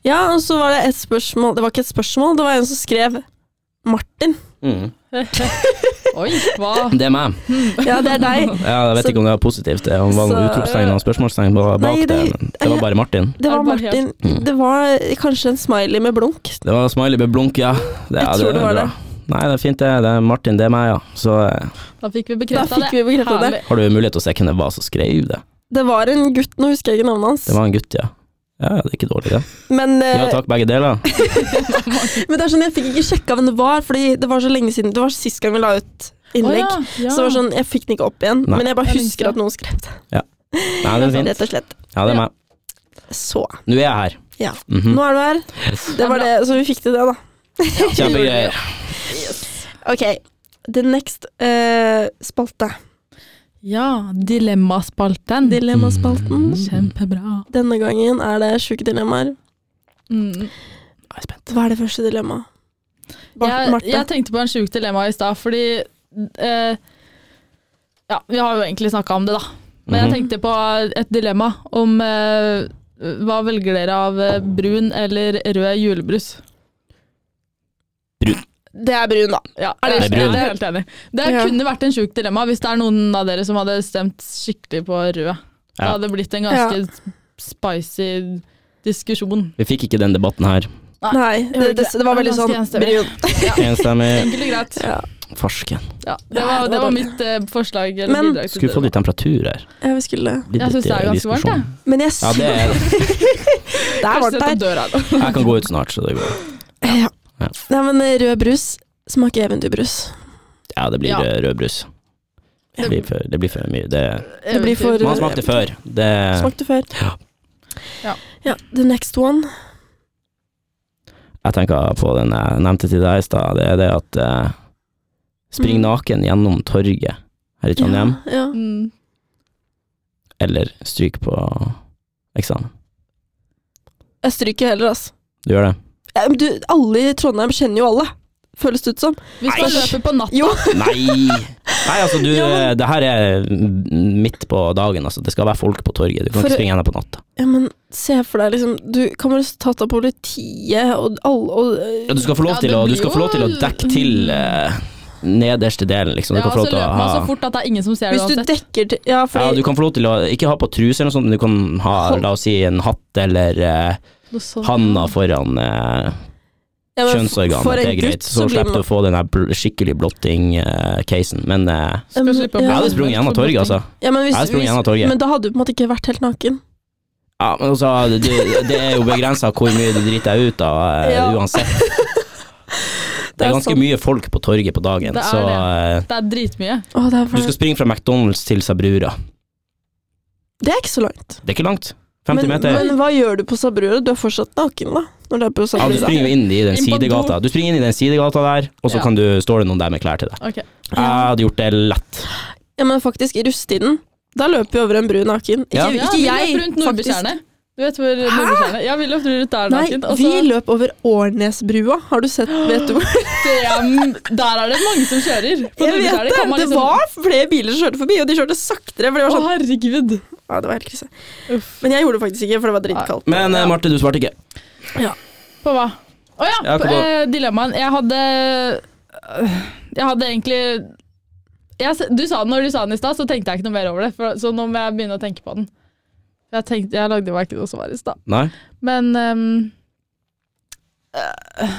[SPEAKER 1] Ja, og så var det et spørsmål Det var ikke et spørsmål, det var en som skrev Martin.
[SPEAKER 2] Mm.
[SPEAKER 3] <laughs> Oi, hva?
[SPEAKER 2] Det er meg.
[SPEAKER 1] Ja, det er deg.
[SPEAKER 2] Ja, jeg vet
[SPEAKER 1] Så-
[SPEAKER 2] ikke om det var positivt. Det var
[SPEAKER 1] Så-
[SPEAKER 2] noen utropstegn og spørsmålstegn ba- bak
[SPEAKER 1] Nei, det-
[SPEAKER 2] det, men det var bare Martin.
[SPEAKER 1] Det
[SPEAKER 3] Er
[SPEAKER 1] var
[SPEAKER 3] det bare
[SPEAKER 1] Martin.
[SPEAKER 2] Mm.
[SPEAKER 1] Det var kanskje en smiley med blunk.
[SPEAKER 2] Det var smiley med blunk, ja. Det,
[SPEAKER 1] Jeg
[SPEAKER 2] ja,
[SPEAKER 1] tror det
[SPEAKER 2] er
[SPEAKER 1] var
[SPEAKER 2] bra.
[SPEAKER 1] det.
[SPEAKER 2] Nei, det er fint det. Det er Martin, det er meg, ja. Så eh,
[SPEAKER 3] Da fikk vi
[SPEAKER 1] Da
[SPEAKER 3] bekrefta
[SPEAKER 1] fikk
[SPEAKER 3] det.
[SPEAKER 1] vi bekreftet det.
[SPEAKER 3] Herlig.
[SPEAKER 2] har du mulighet til å se hvem det var som skrev det.
[SPEAKER 1] Det var en gutt, nå husker jeg ikke navnet hans.
[SPEAKER 2] Det var en gutt, ja. Ja, ja, det er ikke dårlig, det.
[SPEAKER 1] Men, eh,
[SPEAKER 2] Ja takk, begge deler.
[SPEAKER 1] men det er sånn, jeg fikk ikke sjekka hvem det var, fordi det var så lenge siden. Det var sist gang vi la ut innlegg.
[SPEAKER 3] Å, ja, ja.
[SPEAKER 1] Så det var sånn, jeg fikk den ikke opp igjen,
[SPEAKER 2] Nei.
[SPEAKER 1] men jeg bare
[SPEAKER 3] Jeg
[SPEAKER 1] husker
[SPEAKER 3] likte det.
[SPEAKER 1] at noen skrev det.
[SPEAKER 2] Nei, det
[SPEAKER 1] <laughs>
[SPEAKER 2] er fint.
[SPEAKER 1] Rett og slett.
[SPEAKER 2] Ja, det er meg.
[SPEAKER 1] Så.
[SPEAKER 2] Nå er jeg her.
[SPEAKER 1] Ja.
[SPEAKER 2] Mhm.
[SPEAKER 1] Nå er du her. Det var det, så vi fikk til det, da. <laughs>
[SPEAKER 2] Kjempegreier.
[SPEAKER 1] Ok, the next eh, spalte.
[SPEAKER 3] ja,
[SPEAKER 1] sånn-
[SPEAKER 3] Dilemmaspalten.
[SPEAKER 2] Mm.
[SPEAKER 1] Dilemmaspalten.
[SPEAKER 3] Kjempebra.
[SPEAKER 1] Denne gangen er det sjuke dilemmaer.
[SPEAKER 3] Mm.
[SPEAKER 1] Hva er det første dilemmaet? Bar-
[SPEAKER 3] Jeg,
[SPEAKER 1] Marte?
[SPEAKER 3] jeg tenkte på en sjuk dilemma i stad, fordi eh, Ja, vi har jo egentlig snakka om det, da. Men jeg
[SPEAKER 2] Mhm.
[SPEAKER 3] tenkte på et dilemma om eh, hva velger dere av eh, brun eller rød julebrus?
[SPEAKER 1] Det er brun, da.
[SPEAKER 3] Ja,
[SPEAKER 1] Er det-
[SPEAKER 2] Det er brun.
[SPEAKER 3] jeg er helt enig. Det
[SPEAKER 1] Ja.
[SPEAKER 3] kunne vært en sjukt dilemma hvis det er noen av dere som hadde stemt skikkelig på rød. Det
[SPEAKER 2] Ja.
[SPEAKER 3] hadde blitt en ganske spicy diskusjon.
[SPEAKER 2] Vi fikk ikke den debatten her.
[SPEAKER 3] Nei,
[SPEAKER 1] Nei, det,
[SPEAKER 3] gjorde
[SPEAKER 1] det,
[SPEAKER 3] ikke det.
[SPEAKER 1] det var veldig
[SPEAKER 3] Det var
[SPEAKER 1] sånn
[SPEAKER 3] ganske enstemmig.
[SPEAKER 1] brun.
[SPEAKER 2] Enstemmig.
[SPEAKER 3] Enkelt og greit.
[SPEAKER 1] Ja.
[SPEAKER 2] Farsken.
[SPEAKER 3] Ja, det var, det var mitt eh, forslag. Eller
[SPEAKER 1] Men-
[SPEAKER 3] bidrag til
[SPEAKER 2] Skulle få
[SPEAKER 3] dilemma.
[SPEAKER 2] litt temperatur her.
[SPEAKER 1] Ja, vi skulle
[SPEAKER 2] Litt
[SPEAKER 3] Jeg synes det er ganske varmt,
[SPEAKER 2] diskusjon.
[SPEAKER 1] Men jeg
[SPEAKER 2] Ja, det er det.
[SPEAKER 1] Det er
[SPEAKER 3] Kanskje
[SPEAKER 1] varmt <laughs>
[SPEAKER 3] sette
[SPEAKER 1] der.
[SPEAKER 3] døra, da.
[SPEAKER 2] Jeg kan gå ut snart, så det går.
[SPEAKER 1] Ja.
[SPEAKER 2] Ja.
[SPEAKER 1] Nei, men eh, rød brus smaker eventyrbrus.
[SPEAKER 2] Ja, det blir
[SPEAKER 3] Ja.
[SPEAKER 2] eh, rødbrus. Det blir for, det blir for mye. Det,
[SPEAKER 1] Det blir for-
[SPEAKER 2] man smakte før. Det,
[SPEAKER 1] Smakte før.
[SPEAKER 2] Ja.
[SPEAKER 3] Ja.
[SPEAKER 1] ja. The next one.
[SPEAKER 2] jeg tenker på den eh, jeg nevnte til deg i stad, det er det at eh,
[SPEAKER 1] Mhm.
[SPEAKER 2] spring naken gjennom torget her i Trondheim,
[SPEAKER 1] Ja, ja.
[SPEAKER 3] Mm.
[SPEAKER 2] eller stryk på eksamen.
[SPEAKER 1] Jeg stryker heller, altså.
[SPEAKER 2] Du gjør det?
[SPEAKER 1] Ja, men du, alle i Trondheim kjenner jo alle, føles det ut som.
[SPEAKER 3] Hvis man
[SPEAKER 1] Nei.
[SPEAKER 3] løper på natt
[SPEAKER 1] Jo,
[SPEAKER 2] Nei! Nei, altså du,
[SPEAKER 1] Ja, men-
[SPEAKER 2] eh, det her er m- midt på dagen, altså. Det skal være folk på torget. Du kan
[SPEAKER 1] For-
[SPEAKER 2] ikke springe henne på natta.
[SPEAKER 1] ja, men se for deg, liksom. Du kan bli tatt av politiet og alle og,
[SPEAKER 2] Ja, du skal få lov
[SPEAKER 3] Ja,
[SPEAKER 2] til,
[SPEAKER 3] det
[SPEAKER 2] å, du
[SPEAKER 3] blir
[SPEAKER 2] skal få lov til å
[SPEAKER 3] jo-
[SPEAKER 2] dekke til eh, nederste delen, liksom. Du
[SPEAKER 3] ja,
[SPEAKER 2] kan
[SPEAKER 3] så
[SPEAKER 2] få lov til å
[SPEAKER 3] løper man så
[SPEAKER 2] ha
[SPEAKER 3] fort at det er ingen som ser det
[SPEAKER 1] eh, Hvis du
[SPEAKER 3] uansett.
[SPEAKER 1] dekker til Ja, fordi
[SPEAKER 2] ja, du kan få lov til å ikke ha på truse eller noe sånt, men du kan ha
[SPEAKER 1] Hold-
[SPEAKER 2] la oss si en hatt eller eh, handa foran eh,
[SPEAKER 1] ja, men f-
[SPEAKER 2] kjønnsorganet.
[SPEAKER 1] for en
[SPEAKER 2] det er greit,
[SPEAKER 1] gutt
[SPEAKER 2] så
[SPEAKER 1] blir
[SPEAKER 2] slipper du å få den der bl skikkelig blotting-casen. men eh,
[SPEAKER 1] man-
[SPEAKER 3] Skal slippe å
[SPEAKER 2] jeg
[SPEAKER 1] ja.
[SPEAKER 2] hadde sprunget gjennom torget, altså.
[SPEAKER 1] ja, men, hvis,
[SPEAKER 2] Jeg hadde sprunget
[SPEAKER 1] hvis,
[SPEAKER 2] gjennom torget.
[SPEAKER 1] men da hadde du på en måte ikke vært helt naken.
[SPEAKER 2] Ja, men altså, det, det er jo begrensa hvor mye du driter deg ut av, eh,
[SPEAKER 1] Ja.
[SPEAKER 2] uansett. Det
[SPEAKER 1] Det
[SPEAKER 2] er
[SPEAKER 1] er
[SPEAKER 2] ganske
[SPEAKER 1] sant.
[SPEAKER 2] mye folk på torget på dagen,
[SPEAKER 3] Det er
[SPEAKER 2] så eh,
[SPEAKER 3] Det er dritmye.
[SPEAKER 1] Å, det, er
[SPEAKER 2] du skal
[SPEAKER 1] for,
[SPEAKER 2] springe fra McDonald's til Sabrura.
[SPEAKER 1] det er ikke så langt.
[SPEAKER 2] Det er ikke langt. 50
[SPEAKER 1] men,
[SPEAKER 2] meter.
[SPEAKER 1] men hva gjør du på Sabrura? Du er fortsatt naken, da. Når du er på
[SPEAKER 2] Ja, du
[SPEAKER 1] Sabrura.
[SPEAKER 2] springer jo inn i den
[SPEAKER 3] Inn på do.
[SPEAKER 2] sidegata. Du springer inn i den sidegata der, og så
[SPEAKER 3] Ja.
[SPEAKER 2] kan du står det noen der med klær til deg.
[SPEAKER 3] Ok.
[SPEAKER 2] Jeg hadde gjort det lett.
[SPEAKER 1] Ja, men faktisk, i rusttiden, da løper vi over en bru naken. Ikke,
[SPEAKER 2] Ja.
[SPEAKER 1] ikke
[SPEAKER 3] vi
[SPEAKER 1] jeg,
[SPEAKER 3] løper rundt
[SPEAKER 1] faktisk.
[SPEAKER 3] Nordbytjernet. Du vet hvor Nordbytjernet Ja, vi løp rundt der
[SPEAKER 1] Nei,
[SPEAKER 3] naken. og
[SPEAKER 1] vi
[SPEAKER 3] så-
[SPEAKER 1] løp over Årnesbrua. Har du sett Vet du hvor?
[SPEAKER 3] Det er- Der er det mange som kjører.
[SPEAKER 1] Jeg vet
[SPEAKER 3] På Nordbytjernet
[SPEAKER 1] det!
[SPEAKER 3] kan man
[SPEAKER 1] Det
[SPEAKER 3] liksom-
[SPEAKER 1] var flere biler som kjørte forbi, og de kjørte saktere. For det var
[SPEAKER 3] Å,
[SPEAKER 1] sånn,
[SPEAKER 3] herregud.
[SPEAKER 1] ja, det var helt krise.
[SPEAKER 3] Uff.
[SPEAKER 1] Men jeg gjorde det faktisk ikke, for det var dritkaldt.
[SPEAKER 2] Men eh, Marte, du svarte ikke.
[SPEAKER 3] På hva? Å ja,
[SPEAKER 2] Ja,
[SPEAKER 3] på,
[SPEAKER 2] på-
[SPEAKER 3] eh, dilemmaen. Jeg hadde øh, Jeg hadde egentlig jeg, s- du sa den, Når du sa den i stad, så tenkte jeg ikke noe mer over det. For, så nå må jeg begynne å tenke på den. Jeg, tenkte, jeg lagde meg ikke noe svar i stad.
[SPEAKER 2] Nei?
[SPEAKER 3] Men øhm, øh,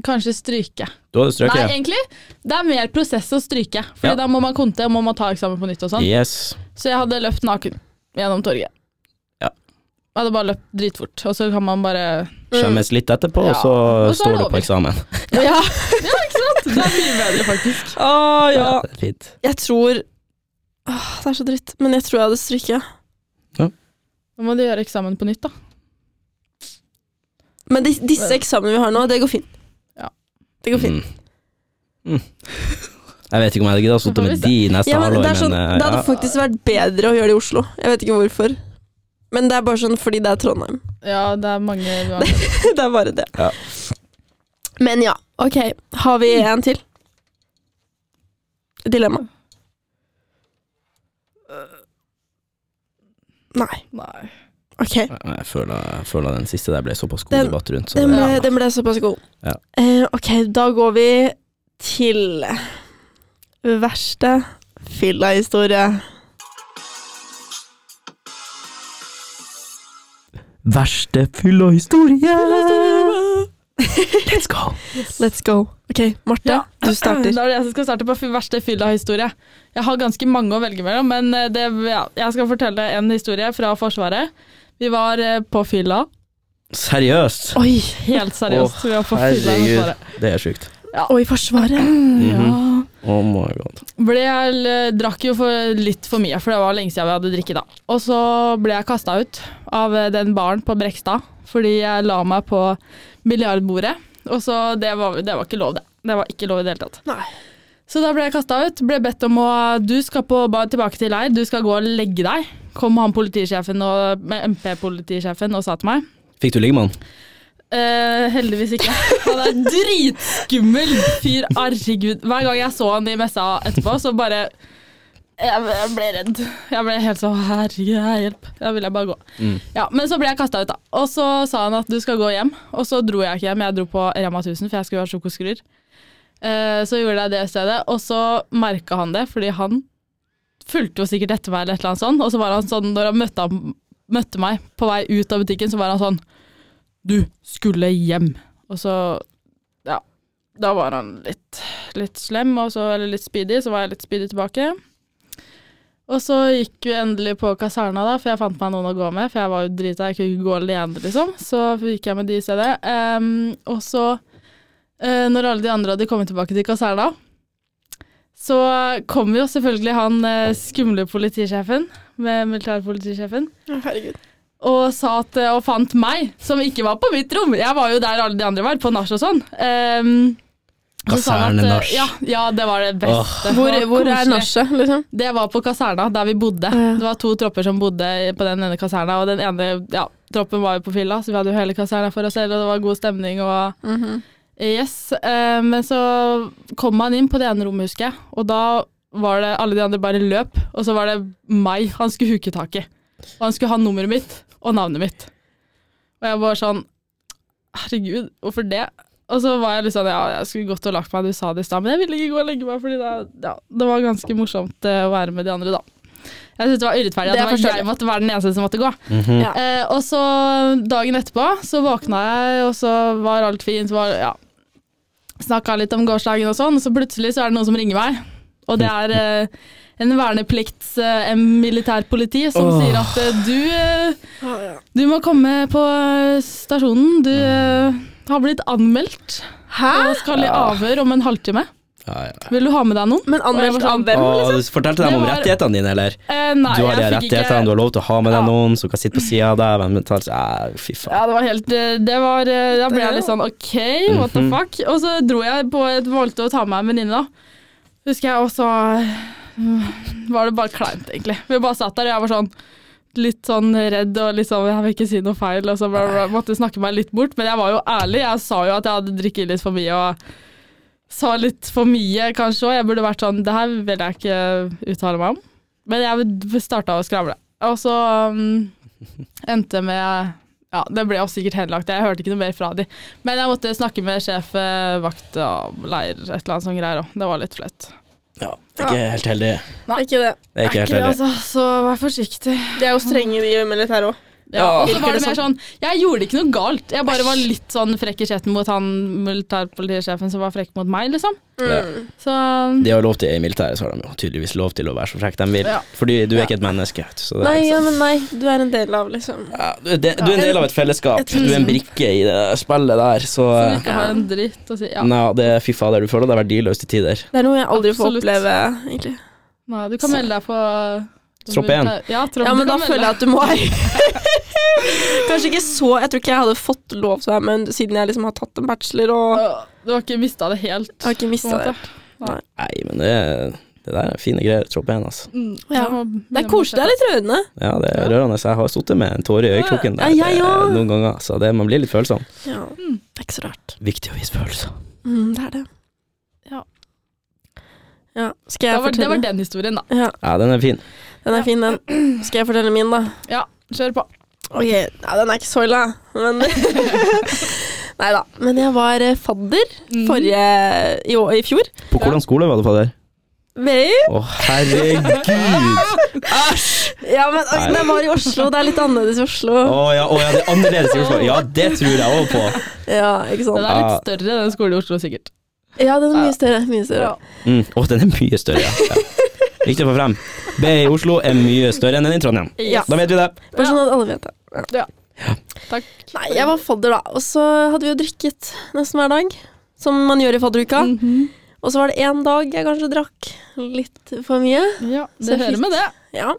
[SPEAKER 3] Kanskje stryke.
[SPEAKER 2] Du hadde
[SPEAKER 3] Nei,
[SPEAKER 2] strøket.
[SPEAKER 3] egentlig. Det er mer prosess å stryke. For
[SPEAKER 2] Ja.
[SPEAKER 3] da må man konte og må man ta eksamen på nytt. og sånn.
[SPEAKER 2] Yes.
[SPEAKER 3] Så jeg hadde løpt naken gjennom torget.
[SPEAKER 2] Ja.
[SPEAKER 3] Jeg hadde bare løpt dritfort. Og så kan man bare <laughs>
[SPEAKER 1] Mm.
[SPEAKER 2] Skjemmes litt etterpå,
[SPEAKER 3] Ja.
[SPEAKER 2] og så
[SPEAKER 3] Og så er det
[SPEAKER 2] står du
[SPEAKER 3] over.
[SPEAKER 2] på eksamen.
[SPEAKER 1] Ja.
[SPEAKER 3] Det er mye bedre, faktisk.
[SPEAKER 1] Å ja.
[SPEAKER 2] det er fint.
[SPEAKER 1] Jeg tror Åh, Det er så dritt, men jeg tror jeg hadde stryka.
[SPEAKER 3] Da må du gjøre eksamen på nytt, da.
[SPEAKER 1] Men de, disse eksamene vi har nå, det går fint.
[SPEAKER 3] Ja.
[SPEAKER 1] Det går fint.
[SPEAKER 2] Mm. Mm. Jeg vet ikke om jeg hadde giddet å sitte
[SPEAKER 3] får vi
[SPEAKER 2] med de neste
[SPEAKER 1] Ja, men
[SPEAKER 2] halvår,
[SPEAKER 1] det, er sånn,
[SPEAKER 2] men
[SPEAKER 1] det
[SPEAKER 2] eh,
[SPEAKER 1] hadde faktisk vært bedre å gjøre det i Oslo. Jeg vet ikke hvorfor. Men det er bare sånn fordi det er Trondheim.
[SPEAKER 3] Ja, det er mange
[SPEAKER 2] <laughs>
[SPEAKER 3] uansett.
[SPEAKER 1] <laughs> det er bare det.
[SPEAKER 2] Ja.
[SPEAKER 1] Men ja, ok. Har vi en til? Dilemma. Øh. Nei,
[SPEAKER 3] Nei.
[SPEAKER 1] ok.
[SPEAKER 2] ja. Jeg føler, jeg føler den siste der ble såpass god
[SPEAKER 1] Den-
[SPEAKER 2] debatt rundt, så
[SPEAKER 1] Den
[SPEAKER 2] det,
[SPEAKER 1] ble, den ble såpass god.
[SPEAKER 2] Ja.
[SPEAKER 1] Eh, ok, da går vi til verste fylla-historie.
[SPEAKER 2] Verste fylla-historie! Let's go!
[SPEAKER 1] <laughs> Let's go. Ok, Marte,
[SPEAKER 3] Ja.
[SPEAKER 1] du starter.
[SPEAKER 3] <laughs> Da er det jeg som skal starte på f- verste fylla-historie. Jeg har ganske mange å velge mellom, men eh, det, ja, jeg skal fortelle en historie fra Forsvaret. Vi var eh, på fylla.
[SPEAKER 2] Seriøst?
[SPEAKER 3] Oi, helt seriøst.
[SPEAKER 2] Åh,
[SPEAKER 3] vi var på fylla med
[SPEAKER 2] Herregud,
[SPEAKER 3] Svaret.
[SPEAKER 2] det er sjukt.
[SPEAKER 1] Og i Forsvaret.
[SPEAKER 3] Ja.
[SPEAKER 2] Oh my god.
[SPEAKER 3] Ble jeg, l- drakk jo for, litt for mye, for det var lenge siden vi hadde drikket da. Og så ble jeg kasta ut av eh, den baren på Brekstad fordi jeg la meg på biljardbordet. Og så det var, det var ikke lov, det. Det var ikke lov i det hele tatt.
[SPEAKER 1] Nei.
[SPEAKER 3] Så da ble jeg kasta ut. Ble bedt om å Du skal på, ba- tilbake til leir, du skal gå og legge deg. Kom han politisjefen og MP-politisjefen og sa til meg.
[SPEAKER 2] Fikk du ligge med han?
[SPEAKER 3] Eh, heldigvis ikke. Han er dritskummel fyr. Herregud. Hver gang jeg så han i messa etterpå, så bare Jeg jeg ble redd. Jeg ble helt sånn Herregud, hjelp. Da ville jeg bare gå.
[SPEAKER 2] Mm.
[SPEAKER 3] Ja, Men så ble jeg kasta ut, da. Og så sa han at du skal gå hjem. Og så dro jeg ikke hjem, jeg dro på Rema 1000, for jeg skulle ha sjokoskruer. Eh, så gjorde jeg det i stedet, og så merka han det, fordi han fulgte jo sikkert etter meg, eller et eller annet sånt. Og så var han sånn, når han møtte, han, møtte meg på vei ut av butikken, så var han sånn Du skulle hjem. Og så Ja. Da var han litt, litt slem, og så, eller litt spydig, så var jeg litt spydig tilbake. Og så gikk vi endelig på kaserna, da, for jeg fant meg noen å gå med. For jeg var jo drita, jeg kunne ikke gå alene, liksom. Så gikk jeg med de i stedet. Ehm, og så, eh, når alle de andre hadde kommet tilbake til kaserna, så kom jo selvfølgelig han eh, skumle politisjefen, med militærpolitisjefen,
[SPEAKER 1] Herregud.
[SPEAKER 3] og, sa at, eh, og fant meg, som ikke var på mitt rom. Jeg var jo der alle de andre var, på nach og sånn. Um,
[SPEAKER 2] Kasernenach.
[SPEAKER 3] eh, Ja, ja, det var det beste.
[SPEAKER 1] Hvor,
[SPEAKER 3] Det var
[SPEAKER 1] hvor er
[SPEAKER 3] koselig.
[SPEAKER 1] nachet, liksom?
[SPEAKER 3] Det var på kaserna, der vi bodde.
[SPEAKER 1] Ja.
[SPEAKER 3] Det var to tropper som bodde på den ene kaserna, og den ene ja, troppen var jo på fylla, så vi hadde jo hele kaserna for oss selv, og det var god stemning og
[SPEAKER 1] Mhm.
[SPEAKER 3] Yes. eh, men så kom han inn på det ene rommet, husker jeg, og da var det alle de andre bare løp, og så var det meg han skulle huke tak i. Og han skulle ha nummeret mitt og navnet mitt. Og jeg var sånn Herregud, hvorfor det? Og så var jeg litt sånn, ja, jeg skulle gått og lagt meg, du sa det i stad, men jeg ville ikke gå og legge meg, fordi det, ja, det var ganske morsomt eh, å være med de andre, da. Jeg syntes det var urettferdig
[SPEAKER 1] Det
[SPEAKER 3] at det
[SPEAKER 1] forstår
[SPEAKER 3] var
[SPEAKER 1] jeg.
[SPEAKER 3] jeg måtte være den eneste som måtte gå.
[SPEAKER 2] Mhm.
[SPEAKER 1] Ja.
[SPEAKER 3] Eh, og så dagen etterpå så våkna jeg, og så var alt fint, var, ja. Snakka litt om gårsdagen og sånn, og så plutselig så er det noen som ringer meg. Og det er eh, en verneplikts eh, en militærpoliti som
[SPEAKER 2] Åh.
[SPEAKER 3] sier at eh, du eh, du må komme på eh, stasjonen. Du
[SPEAKER 2] Mm.
[SPEAKER 3] eh, har blitt anmeldt
[SPEAKER 1] Hæ?
[SPEAKER 3] og skal i avhør om en halvtime.
[SPEAKER 2] Ja, ja.
[SPEAKER 3] Vil du ha med deg noen?
[SPEAKER 1] Men anmeldt
[SPEAKER 3] Og jeg var
[SPEAKER 1] av
[SPEAKER 3] sånn,
[SPEAKER 1] hvem?
[SPEAKER 2] Å, du fortalte dem om
[SPEAKER 3] Det var-
[SPEAKER 2] rettighetene dine, eller?
[SPEAKER 3] Eh, nei,
[SPEAKER 2] du har de
[SPEAKER 3] jeg fikk
[SPEAKER 2] rettighetene,
[SPEAKER 3] ikke-
[SPEAKER 2] du har lov til å ha med deg
[SPEAKER 3] Ja.
[SPEAKER 2] noen som kan sitte på sida av deg. men betalt- Ja, fy faen.
[SPEAKER 3] Ja, det var helt eh, det var, eh, Da ble jeg litt sånn OK, what the
[SPEAKER 2] Mhm.
[SPEAKER 3] fuck? Og så dro jeg på et valgte å ta med en venninne, da. Husker jeg, og så eh, var det bare kleint, egentlig. Vi bare satt der, og jeg var sånn litt sånn redd og litt sånn Jeg vil ikke si noe feil, og så bla, bla, bla. måtte snakke meg litt bort. Men jeg var jo ærlig. Jeg sa jo at jeg hadde drukket litt for mye og sa litt for mye, kanskje òg. Jeg burde vært sånn Det her vil jeg ikke uttale meg om. Men jeg starta å skravle. Og så um, endte med ja, Det ble jo sikkert henlagt, jeg hørte ikke noe mer fra de. Men jeg måtte snakke med sjef eh, vakt og leir, et eller annet sånt greier òg. Det var litt flaut.
[SPEAKER 2] Ja, det er ikke helt heldig.
[SPEAKER 1] Nei, ikke det.
[SPEAKER 2] Det er ikke helt
[SPEAKER 3] Ekkelt,
[SPEAKER 2] heldig.
[SPEAKER 3] altså, så vær forsiktig.
[SPEAKER 1] De er jo strenge, de i militæret òg.
[SPEAKER 3] Ja,
[SPEAKER 2] Ja.
[SPEAKER 3] og så
[SPEAKER 1] Virker
[SPEAKER 3] var
[SPEAKER 1] det
[SPEAKER 3] det mer sånn Jeg gjorde ikke noe galt, jeg bare var litt sånn frekk i kjetten mot han militærpolitisjefen som var frekk mot meg, liksom.
[SPEAKER 1] Mm.
[SPEAKER 3] Så
[SPEAKER 2] De har lov til I militæret så har de jo tydeligvis lov til å være så frekk de vil.
[SPEAKER 3] Ja.
[SPEAKER 2] Fordi du er ikke et menneske. vet du, Så det er
[SPEAKER 1] Nei,
[SPEAKER 2] liksom-
[SPEAKER 1] ja, men nei. Du er en del av, liksom.
[SPEAKER 2] ja, du, er de, du er en del av et fellesskap. Du er en brikke i det spillet der, så
[SPEAKER 3] som ikke har en dritt å si. Ja.
[SPEAKER 2] Nei, det er fy fader. Du føler deg verdiløs til tider.
[SPEAKER 1] Det er noe jeg aldri får
[SPEAKER 3] Absolutt.
[SPEAKER 1] oppleve, egentlig.
[SPEAKER 3] Nei, du kan melde deg på
[SPEAKER 2] Tropp igjen.
[SPEAKER 3] Ja, tropp,
[SPEAKER 1] Ja, men
[SPEAKER 3] du
[SPEAKER 1] da
[SPEAKER 3] kan melde
[SPEAKER 1] føler jeg
[SPEAKER 3] deg.
[SPEAKER 1] at du må <laughs> Kanskje ikke så Jeg tror ikke jeg hadde fått lov til det, men siden jeg liksom har tatt en bachelor og
[SPEAKER 3] Du har ikke mista det helt.
[SPEAKER 1] Jeg har ikke
[SPEAKER 3] på en
[SPEAKER 1] mista
[SPEAKER 3] måte.
[SPEAKER 1] det.
[SPEAKER 2] Nei, men det, det der er fine greier. Tropp én, altså.
[SPEAKER 1] Ja.
[SPEAKER 3] Jeg Mm. må
[SPEAKER 1] Det
[SPEAKER 3] begynne
[SPEAKER 1] er koselig. Det
[SPEAKER 3] med
[SPEAKER 1] er litt rørende.
[SPEAKER 2] Ja, det er rørende. Jeg har sittet med en tåre i øyekroken der
[SPEAKER 1] Ja, jeg
[SPEAKER 2] eh,
[SPEAKER 1] òg.
[SPEAKER 2] noen ganger, så det, man blir litt følsom.
[SPEAKER 1] Ja.
[SPEAKER 3] Mm.
[SPEAKER 1] Det er ikke så rart.
[SPEAKER 2] Viktig å vise følelser.
[SPEAKER 1] Mm, det er det.
[SPEAKER 3] Ja.
[SPEAKER 1] Ja, Skal
[SPEAKER 3] det
[SPEAKER 1] jeg
[SPEAKER 3] var, det var
[SPEAKER 1] fortelle?
[SPEAKER 3] den historien, da.
[SPEAKER 1] Ja,
[SPEAKER 2] Ja, den er fin.
[SPEAKER 1] den er fin, den.
[SPEAKER 3] <clears throat>
[SPEAKER 1] Skal jeg fortelle min, da?
[SPEAKER 3] Ja, kjør på.
[SPEAKER 1] Ok, ja, den er ikke så ille, men <laughs> Nei da. Men jeg var eh, fadder forrige i, år, i fjor.
[SPEAKER 2] På hvordan skole var du på der?
[SPEAKER 1] Ved
[SPEAKER 2] Å, herregud!
[SPEAKER 1] Ja, men oi,
[SPEAKER 2] Nei.
[SPEAKER 1] den var i Oslo. Det er litt annerledes i Oslo.
[SPEAKER 2] Å ja, å, ja, det er annerledes i Oslo. Ja, det tror jeg òg på.
[SPEAKER 1] Ja, ikke
[SPEAKER 3] Den
[SPEAKER 1] sant.
[SPEAKER 3] er
[SPEAKER 2] Ja.
[SPEAKER 3] litt større, den skolen i Oslo, sikkert.
[SPEAKER 1] Ja, den er mye større. Mye større.
[SPEAKER 2] Mm. Å, den er mye større, ja. ja. Viktig å få frem. B i Oslo er mye større enn den i Trondheim.
[SPEAKER 1] Ja.
[SPEAKER 2] Da vet vi det.
[SPEAKER 1] Bare sånn at alle vet det.
[SPEAKER 3] Takk.
[SPEAKER 1] Nei, jeg var fadder, da. Og så hadde vi jo drikket nesten hver dag, som man gjør i fadderuka.
[SPEAKER 3] Mhm.
[SPEAKER 1] Og så var det én dag jeg kanskje drakk litt for mye.
[SPEAKER 3] Ja,
[SPEAKER 1] Så
[SPEAKER 3] det hører
[SPEAKER 1] fint.
[SPEAKER 3] med det.
[SPEAKER 1] Ja.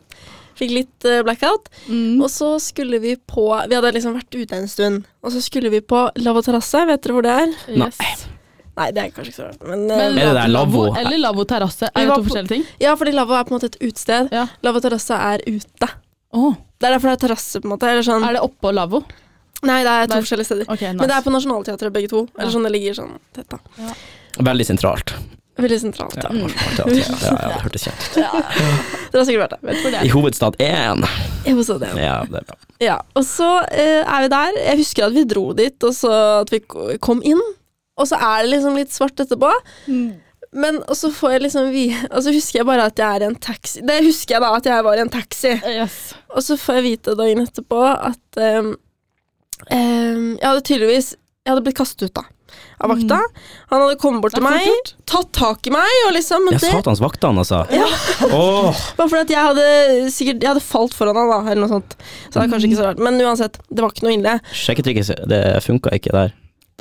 [SPEAKER 1] Fikk litt eh, blackout.
[SPEAKER 3] Mm.
[SPEAKER 1] Og så skulle vi på Vi hadde liksom vært ute en stund, og så skulle vi på Lavvo terrasse. Vet dere hvor det er?
[SPEAKER 2] Nei.
[SPEAKER 3] Yes.
[SPEAKER 1] Nei, det er kanskje ikke så rart, men, eh,
[SPEAKER 3] Men
[SPEAKER 2] eh, Er det der lavvo?
[SPEAKER 3] Eller lavvo terrasse.
[SPEAKER 1] Vi
[SPEAKER 3] Er det
[SPEAKER 1] var
[SPEAKER 3] to
[SPEAKER 1] på-
[SPEAKER 3] forskjellige ting?
[SPEAKER 1] Ja, fordi Lavvo er på en måte et utested.
[SPEAKER 3] Ja.
[SPEAKER 1] Lavvo terrasse er ute.
[SPEAKER 3] Åh,
[SPEAKER 1] Det er derfor det er terrasse, på en måte. Eller sånn.
[SPEAKER 3] Er det oppå lavvo?
[SPEAKER 1] Nei, det er to
[SPEAKER 3] Nei.
[SPEAKER 1] forskjellige steder.
[SPEAKER 3] Ok, nice.
[SPEAKER 1] Men det er på Nationaltheatret, begge to. Eller
[SPEAKER 3] Ja.
[SPEAKER 1] sånn, Det ligger sånn tett, da.
[SPEAKER 2] Veldig sentralt.
[SPEAKER 1] Veldig sentralt.
[SPEAKER 2] Ja,
[SPEAKER 1] Ja.
[SPEAKER 3] Mm.
[SPEAKER 2] ja, ja, det hørtes kjent ut.
[SPEAKER 1] Dere har sikkert vært der.
[SPEAKER 3] Vet hvor det
[SPEAKER 2] I
[SPEAKER 3] er.
[SPEAKER 2] hovedstad 1.
[SPEAKER 1] Jeg må se det.
[SPEAKER 2] Ja, det er bra.
[SPEAKER 1] Ja, og så eh, er vi der. Jeg husker at vi dro dit, og så at vi k- kom inn. Og så er det liksom litt svart etterpå.
[SPEAKER 3] Mm.
[SPEAKER 1] Men og så får jeg liksom vi, Og så husker jeg bare at jeg er i en taxi. Det husker jeg da, at jeg var i en taxi.
[SPEAKER 3] Yes.
[SPEAKER 1] Og så får jeg vite dagen etterpå at ehm, ehm, Jeg hadde tydeligvis Jeg hadde blitt kastet ut da av vakta. Han hadde kommet bort
[SPEAKER 3] Mm. Det er
[SPEAKER 1] til meg,
[SPEAKER 3] fort
[SPEAKER 1] tatt tak i meg og liksom men
[SPEAKER 2] Ja,
[SPEAKER 1] det,
[SPEAKER 2] satans vaktene, altså.
[SPEAKER 1] Ja.
[SPEAKER 2] Åh,
[SPEAKER 1] Bare fordi at jeg hadde sikkert Jeg hadde falt foran han da, eller noe sånt. Så det
[SPEAKER 3] Mm.
[SPEAKER 1] er kanskje ikke så rart. Men uansett, det var ikke noe ille.
[SPEAKER 2] sjekketrykket det funka ikke der.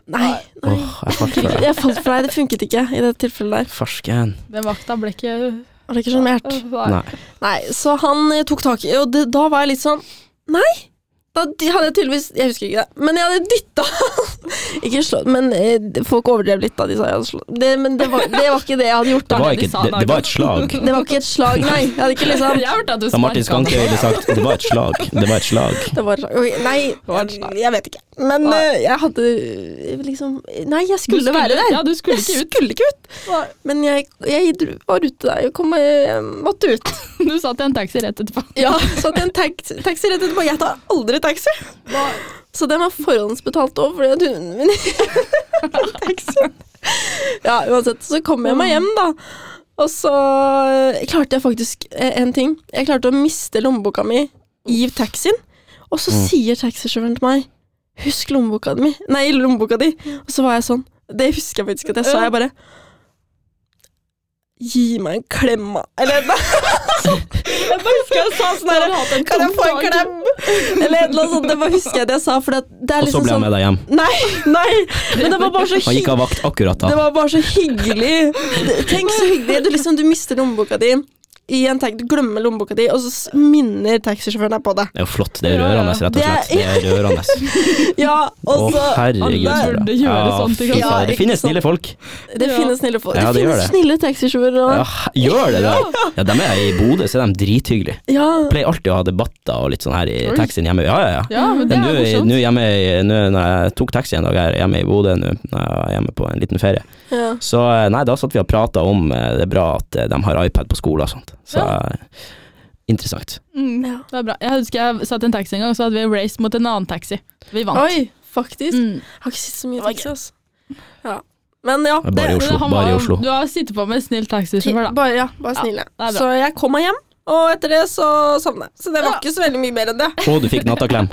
[SPEAKER 1] Nei.
[SPEAKER 2] Åh,
[SPEAKER 1] nei.
[SPEAKER 2] jeg falt for det.
[SPEAKER 1] Jeg falt for deg, det funket ikke i det tilfellet der.
[SPEAKER 2] Farsken.
[SPEAKER 3] Den vakta ble ikke
[SPEAKER 1] Var det ikke sjarmert?
[SPEAKER 3] Nei.
[SPEAKER 2] Nei.
[SPEAKER 1] Nei, så han eh, tok tak i Og det, da var jeg litt sånn Nei! Da de hadde jeg tydeligvis Jeg husker ikke det, men jeg hadde dytta <laughs> Ikke slått, men eh, folk overdrev litt da de sa jeg hadde slått. Det, men det var, det var ikke det jeg hadde gjort,
[SPEAKER 2] Det
[SPEAKER 1] da.
[SPEAKER 2] var,
[SPEAKER 3] det de
[SPEAKER 2] ikke,
[SPEAKER 3] sa,
[SPEAKER 2] det, det var et slag.
[SPEAKER 1] <laughs> Det var ikke et slag, nei. Jeg hadde ikke liksom
[SPEAKER 3] Jeg hørte at du
[SPEAKER 2] Da Martin
[SPEAKER 3] sparket
[SPEAKER 2] Skanke
[SPEAKER 3] han.
[SPEAKER 2] ville sagt det var et slag. Det var et slag.
[SPEAKER 1] det var, et slag. Ok,
[SPEAKER 3] var et
[SPEAKER 1] nei,
[SPEAKER 3] slag.
[SPEAKER 1] jeg vet ikke. Men
[SPEAKER 3] Nei.
[SPEAKER 1] eh, jeg hadde eh, liksom Nei, jeg
[SPEAKER 3] Du
[SPEAKER 1] skulle, være der.
[SPEAKER 3] Ja, du skulle
[SPEAKER 1] jeg
[SPEAKER 3] ikke ut.
[SPEAKER 1] skulle ikke ut. Men jeg, jeg dro- var ute der. Jeg, kom, meg- jeg måtte ut.
[SPEAKER 3] Du satt i en taxi rett etterpå.
[SPEAKER 1] Ja, satt i en tax, taxi rett etterpå. Jeg tar aldri taxi. Så den var forhåndsbetalt òg, fordi at hunden min Taxi. Ja, uansett. Så kom jeg meg hjem, da. Og så eh, klarte jeg faktisk eh, en ting. Jeg klarte å miste lommeboka mi i taxien. Og så
[SPEAKER 2] Mm.
[SPEAKER 1] sier taxisjåføren til meg 'Husk lommeboka mi Nei, lommeboka di. Og så var jeg sånn. Det husker jeg faktisk at jeg sa. Jeg bare Gi meg en klem, da. Eller <laughs> Jeg bare husker jeg sa sånn her Kan jeg få en klem? Eller noe sånt. Det bare husker jeg det jeg sa. For det, det er
[SPEAKER 2] Og så
[SPEAKER 1] liksom
[SPEAKER 2] ble han
[SPEAKER 1] sånn
[SPEAKER 2] med deg hjem.
[SPEAKER 1] Nei, nei! Men det var bare så
[SPEAKER 2] Han gikk
[SPEAKER 1] hyggelig.
[SPEAKER 2] av vakt akkurat
[SPEAKER 1] Det
[SPEAKER 2] da.
[SPEAKER 1] var bare så hyggelig. Det- Tenk så hyggelig. Du, liksom, du mister lommeboka di. I en tag, du glemmer lommeboka di, og så s- minner taxisjåføren deg på det.
[SPEAKER 2] Det er jo flott. Det er rørende, rett og slett. Det er rørende.
[SPEAKER 1] Ja, og
[SPEAKER 2] Å,
[SPEAKER 1] så
[SPEAKER 2] herregud.
[SPEAKER 1] Alle-
[SPEAKER 2] så bra.
[SPEAKER 3] burde gjøre sånt,
[SPEAKER 2] fy
[SPEAKER 3] ikke sant?
[SPEAKER 2] faen,
[SPEAKER 1] Ja,
[SPEAKER 2] Det
[SPEAKER 1] ikke
[SPEAKER 2] finnes
[SPEAKER 1] sant.
[SPEAKER 2] snille folk.
[SPEAKER 1] Det
[SPEAKER 3] Ja.
[SPEAKER 1] finnes snille folk.
[SPEAKER 2] Ja,
[SPEAKER 1] det
[SPEAKER 2] det gjør
[SPEAKER 1] finnes
[SPEAKER 2] det.
[SPEAKER 1] snille taxisjåfører
[SPEAKER 2] Ja,
[SPEAKER 1] og
[SPEAKER 2] gjør det det? Ja, de er i Bodø, så er de drithyggelige.
[SPEAKER 1] ja.
[SPEAKER 2] Pleier alltid å ha debatter og litt sånn her i
[SPEAKER 3] Oi.
[SPEAKER 2] taxien hjemme. Ja, ja, ja.
[SPEAKER 3] Ja, men
[SPEAKER 2] Men
[SPEAKER 3] det er
[SPEAKER 2] nå i-
[SPEAKER 3] morsomt.
[SPEAKER 2] nå hjemme i- nå når jeg tok taxi en dag her hjemme i Bodø, nå når jeg var hjemme på en liten ferie,
[SPEAKER 1] ja.
[SPEAKER 2] så eh, nei, da satt vi og prata om eh, det er bra at eh, de har iPad på skolen og sånt. Så
[SPEAKER 3] Ja.
[SPEAKER 2] eh, interessant.
[SPEAKER 3] Mm,
[SPEAKER 1] Ja.
[SPEAKER 3] det er bra. Jeg husker jeg satt i en taxi en gang, og så hadde vi race mot en annen taxi. Vi vant.
[SPEAKER 1] Oi, faktisk.
[SPEAKER 3] Mm.
[SPEAKER 1] Jeg har ikke sett så mye
[SPEAKER 3] Det var
[SPEAKER 1] taxi, altså. Ja. Men ja.
[SPEAKER 2] Det er bare i
[SPEAKER 1] det-
[SPEAKER 2] Oslo,
[SPEAKER 3] Han
[SPEAKER 2] bare i
[SPEAKER 3] var-
[SPEAKER 2] Oslo.
[SPEAKER 3] Du har sittet på med en snill taxisjåfør, da.
[SPEAKER 1] Bare, ja, bare snille.
[SPEAKER 3] det er bra.
[SPEAKER 1] så jeg kom meg hjem, og etter det så sovna jeg. Så det var
[SPEAKER 3] Ja.
[SPEAKER 1] ikke så veldig mye mer enn det.
[SPEAKER 2] Og du
[SPEAKER 1] <laughs>
[SPEAKER 2] fikk nattaklem.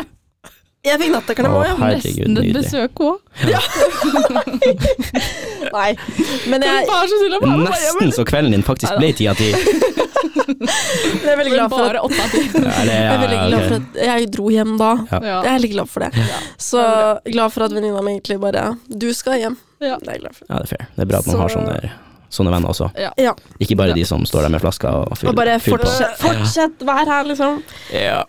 [SPEAKER 1] Jeg fikk nattaklem
[SPEAKER 2] Å,
[SPEAKER 1] òg, ja.
[SPEAKER 2] herregud,
[SPEAKER 3] Nesten et
[SPEAKER 2] nydelig.
[SPEAKER 3] besøk òg.
[SPEAKER 1] Nei. Men jeg,
[SPEAKER 3] Bare så snill å være med meg hjem.
[SPEAKER 2] Nesten så kvelden din faktisk ble tida ti.
[SPEAKER 1] jeg er veldig glad for at
[SPEAKER 3] Bare åtte av ti.
[SPEAKER 2] Eller,
[SPEAKER 1] jeg, er veldig
[SPEAKER 2] ja,
[SPEAKER 1] glad for
[SPEAKER 2] ok.
[SPEAKER 1] at jeg dro hjem da. Jeg
[SPEAKER 3] Ja.
[SPEAKER 1] er veldig glad for det. Så glad for at venninna mi egentlig bare Du skal hjem.
[SPEAKER 3] Ja.
[SPEAKER 1] Det er jeg glad for.
[SPEAKER 2] Ja, det er fair. Det er bra at man har
[SPEAKER 1] Så-
[SPEAKER 2] sånne, sånne venner også.
[SPEAKER 1] Ja.
[SPEAKER 2] Ikke bare de som står der med flaska og fyller
[SPEAKER 1] Og bare
[SPEAKER 2] fyller på.
[SPEAKER 1] fortsett, fortsett, vær her, liksom.
[SPEAKER 2] Ja.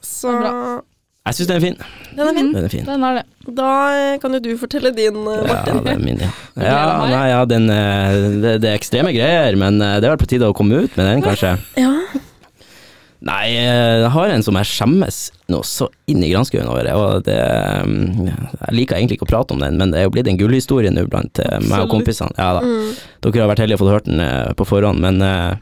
[SPEAKER 1] Så
[SPEAKER 3] Det er
[SPEAKER 2] Jeg syns den er fin.
[SPEAKER 1] den er fin.
[SPEAKER 2] Den er fin.
[SPEAKER 3] Den er det.
[SPEAKER 1] Mm. Da eh, kan jo du fortelle din, eh,
[SPEAKER 2] Ja,
[SPEAKER 1] Martin.
[SPEAKER 2] det er
[SPEAKER 1] <laughs>
[SPEAKER 2] min, ja.
[SPEAKER 3] gleder
[SPEAKER 2] ja,
[SPEAKER 3] meg.
[SPEAKER 2] nei, ja den, eh, det, det er ekstreme greier, men eh, det er vel på tide å komme ut med den, kanskje.
[SPEAKER 1] Ja.
[SPEAKER 2] Nei, eh, jeg har en som jeg skjemmes nå så inn i granskauen over. Og det, mm, jeg liker egentlig ikke å prate om den, men det er jo blitt en gullhistorie nå blant eh, meg
[SPEAKER 3] Absolutt.
[SPEAKER 2] og kompisene. Ja, da.
[SPEAKER 1] Mm.
[SPEAKER 2] Dere har vært heldige og fått hørt den eh, på forhånd, men eh,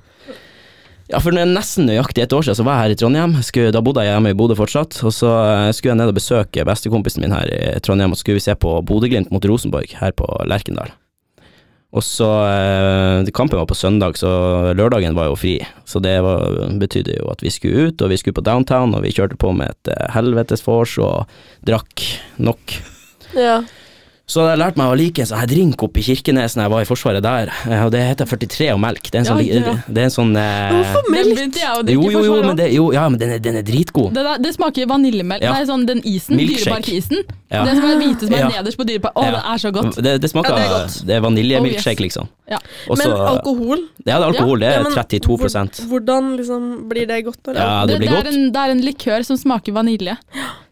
[SPEAKER 2] ja, for nesten nøyaktig et år siden så var jeg her i Trondheim. Skulle, da bodde jeg hjemme i Bodø fortsatt, og så eh, skulle jeg ned og besøke bestekompisen min her i Trondheim, og så skulle vi se på Bodø-Glimt mot Rosenborg her på Lerkendal. Og så eh, Kampen var på søndag, så lørdagen var jo fri. Så det var, betydde jo at vi skulle ut, og vi skulle på downtown, og vi kjørte på med et eh, helvetes vors og drakk nok.
[SPEAKER 1] ja.
[SPEAKER 2] Så hadde jeg lært meg å like en sånn her drink oppe i Kirkenes når jeg var i Forsvaret der, eh, og det heter 43 og melk. Det er en sånn,
[SPEAKER 3] Ja, ja.
[SPEAKER 2] li- det er en sånn eh,
[SPEAKER 1] Hvorfor
[SPEAKER 3] Den
[SPEAKER 1] melk?
[SPEAKER 3] begynte jeg å
[SPEAKER 2] Jo,
[SPEAKER 3] drikke
[SPEAKER 2] jo, jo,
[SPEAKER 3] først,
[SPEAKER 2] men det, jo, ja, men den er, den er dritgod.
[SPEAKER 3] Det, der, det smaker vaniljemelk.
[SPEAKER 2] Ja.
[SPEAKER 3] Nei, sånn den isen.
[SPEAKER 2] Milkshake.
[SPEAKER 3] Dyreparkisen.
[SPEAKER 2] Ja.
[SPEAKER 3] Den som er hvite som er
[SPEAKER 2] Ja.
[SPEAKER 3] nederst på dyrepark. Å,
[SPEAKER 2] Ja.
[SPEAKER 3] det er så godt.
[SPEAKER 2] Det, det smaker
[SPEAKER 1] Ja, det
[SPEAKER 2] Det
[SPEAKER 1] er
[SPEAKER 2] er,
[SPEAKER 1] godt.
[SPEAKER 2] vaniljemilkshake,
[SPEAKER 3] Oh,
[SPEAKER 2] liksom.
[SPEAKER 3] Ja.
[SPEAKER 2] Og så-
[SPEAKER 1] Men alkohol?
[SPEAKER 2] Ja, det er alkohol. Det
[SPEAKER 1] Ja,
[SPEAKER 2] er
[SPEAKER 1] men
[SPEAKER 2] 32
[SPEAKER 1] hvor- Hvordan liksom blir det godt? Når
[SPEAKER 2] Ja,
[SPEAKER 1] det,
[SPEAKER 2] det blir
[SPEAKER 3] det,
[SPEAKER 2] godt.
[SPEAKER 3] er en, det er en likør som smaker vanilje.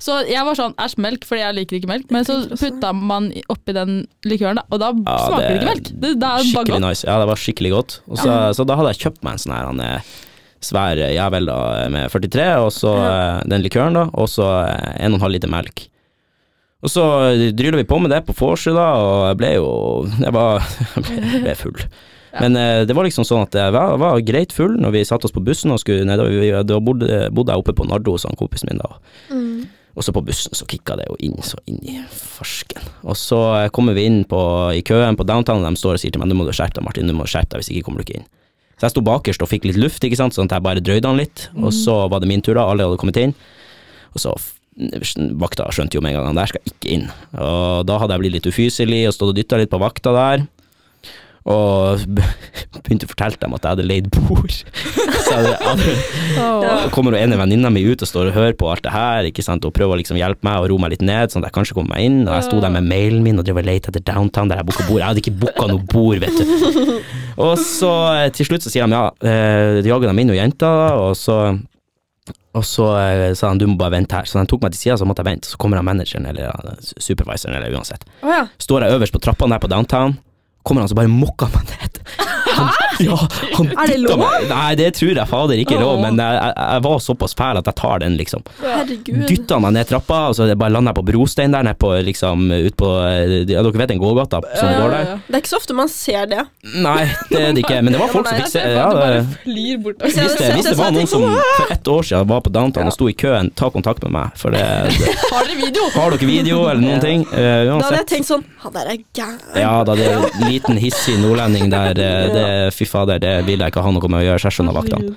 [SPEAKER 3] Så jeg var sånn æsj, melk, fordi jeg liker ikke melk. Men så
[SPEAKER 1] liker også det.
[SPEAKER 3] putta man i- oppi den likøren, da, og da
[SPEAKER 2] Ja,
[SPEAKER 3] smaker det
[SPEAKER 2] det-
[SPEAKER 3] ikke melk. Det, det er bare
[SPEAKER 2] Skikkelig
[SPEAKER 3] godt.
[SPEAKER 2] nice. Ja, det var skikkelig godt. Og så, så da hadde jeg kjøpt meg en sånn her han er svær eh, jævel da, med 43, og så eh, den likøren, da, og så eh, en og en halv liter melk. Og så dryla vi på med det på vorset, da, og jeg ble jo <laughs> Jeg var jeg ble, jeg ble full. Men eh, det var liksom sånn at jeg var, var greit full når vi satte oss på bussen og skulle nedover. Vi- Da bodde, bodde jeg oppe på Nardo hos han kompisen min da.
[SPEAKER 1] Mm.
[SPEAKER 2] Og så på bussen så kicka det jo inn så inn i farsken. Og så eh, kommer vi inn på, i køen på downtown, og de står og sier til meg nå må du skjerpe deg, Martin, nå må du skjerpe deg, hvis ikke kommer du ikke inn. Så jeg sto bakerst og fikk litt luft, ikke sant, sånn at jeg bare drøyde han litt. Og så var det min tur, da, alle hadde kommet inn. Og så f- Vakta skjønte jo med en gang han der skal ikke inn. Og da hadde jeg blitt litt ufyselig og stått og dytta litt på vakta der. Og <laughs> be- begynte å fortelle dem at jeg hadde leid bord. <laughs> Så jeg hadde,
[SPEAKER 1] Ja.
[SPEAKER 2] da kommer hun ene venninna mi ut og står og hører på alt det her, ikke sant, og prøver å liksom hjelpe meg og roe meg litt ned, sånn at jeg kanskje kommer meg inn. Og jeg sto der med mailen min og drev og lette etter downtown der jeg booka bord. Jeg hadde ikke booka noe bord, vet du. Og så eh, til slutt så sier de ja, eh, de jager dem inn og jenta, og så og så eh, sa han du må bare vente her, så han tok meg til sida, så måtte jeg vente. Så kommer han manageren eller ja, supervisoren eller uansett.
[SPEAKER 1] Å ja.
[SPEAKER 2] Står jeg øverst på trappene der på downtown, kommer han så bare mokker han meg ned. Han, ja, han
[SPEAKER 1] Er det
[SPEAKER 2] dytter
[SPEAKER 1] lov?
[SPEAKER 2] Meg. Nei, det tror jeg fader ikke er lov,
[SPEAKER 3] Åh.
[SPEAKER 2] men jeg, jeg, jeg var såpass fæl at jeg tar den, liksom.
[SPEAKER 1] Herregud.
[SPEAKER 2] Dytta han meg ned trappa, og så bare lander jeg på brostein der nede på, liksom, ut på Ja, dere vet den gågata som
[SPEAKER 3] Ja,
[SPEAKER 2] Sånn går
[SPEAKER 3] ja,
[SPEAKER 2] der?
[SPEAKER 3] ja.
[SPEAKER 1] Det er ikke så ofte man ser det.
[SPEAKER 2] Nei, det er det ikke, men det var folk som
[SPEAKER 1] Nei,
[SPEAKER 2] fikk
[SPEAKER 3] Jeg
[SPEAKER 2] se.
[SPEAKER 3] ser for
[SPEAKER 2] Ja,
[SPEAKER 3] meg at det
[SPEAKER 2] det,
[SPEAKER 3] bare flyr bort.
[SPEAKER 1] Hvis jeg
[SPEAKER 2] hvis, det,
[SPEAKER 1] hadde
[SPEAKER 2] hvis
[SPEAKER 1] sett
[SPEAKER 2] det var
[SPEAKER 1] det,
[SPEAKER 2] noen
[SPEAKER 1] så
[SPEAKER 2] som
[SPEAKER 1] hadde jeg tenkt,
[SPEAKER 2] for ett år siden var på downtown og sto i køen, ta kontakt med meg, for det, det
[SPEAKER 3] Har dere video?
[SPEAKER 2] Har dere video eller noen ting? Eh,
[SPEAKER 1] Da hadde
[SPEAKER 2] uansett.
[SPEAKER 1] jeg tenkt sånn Han der er gæren.
[SPEAKER 2] Ja da, det er en liten hissig nordlending der. eh, Det, fy fader, det vil jeg ikke ha noe med å gjøre. Seg skjønner vaktene.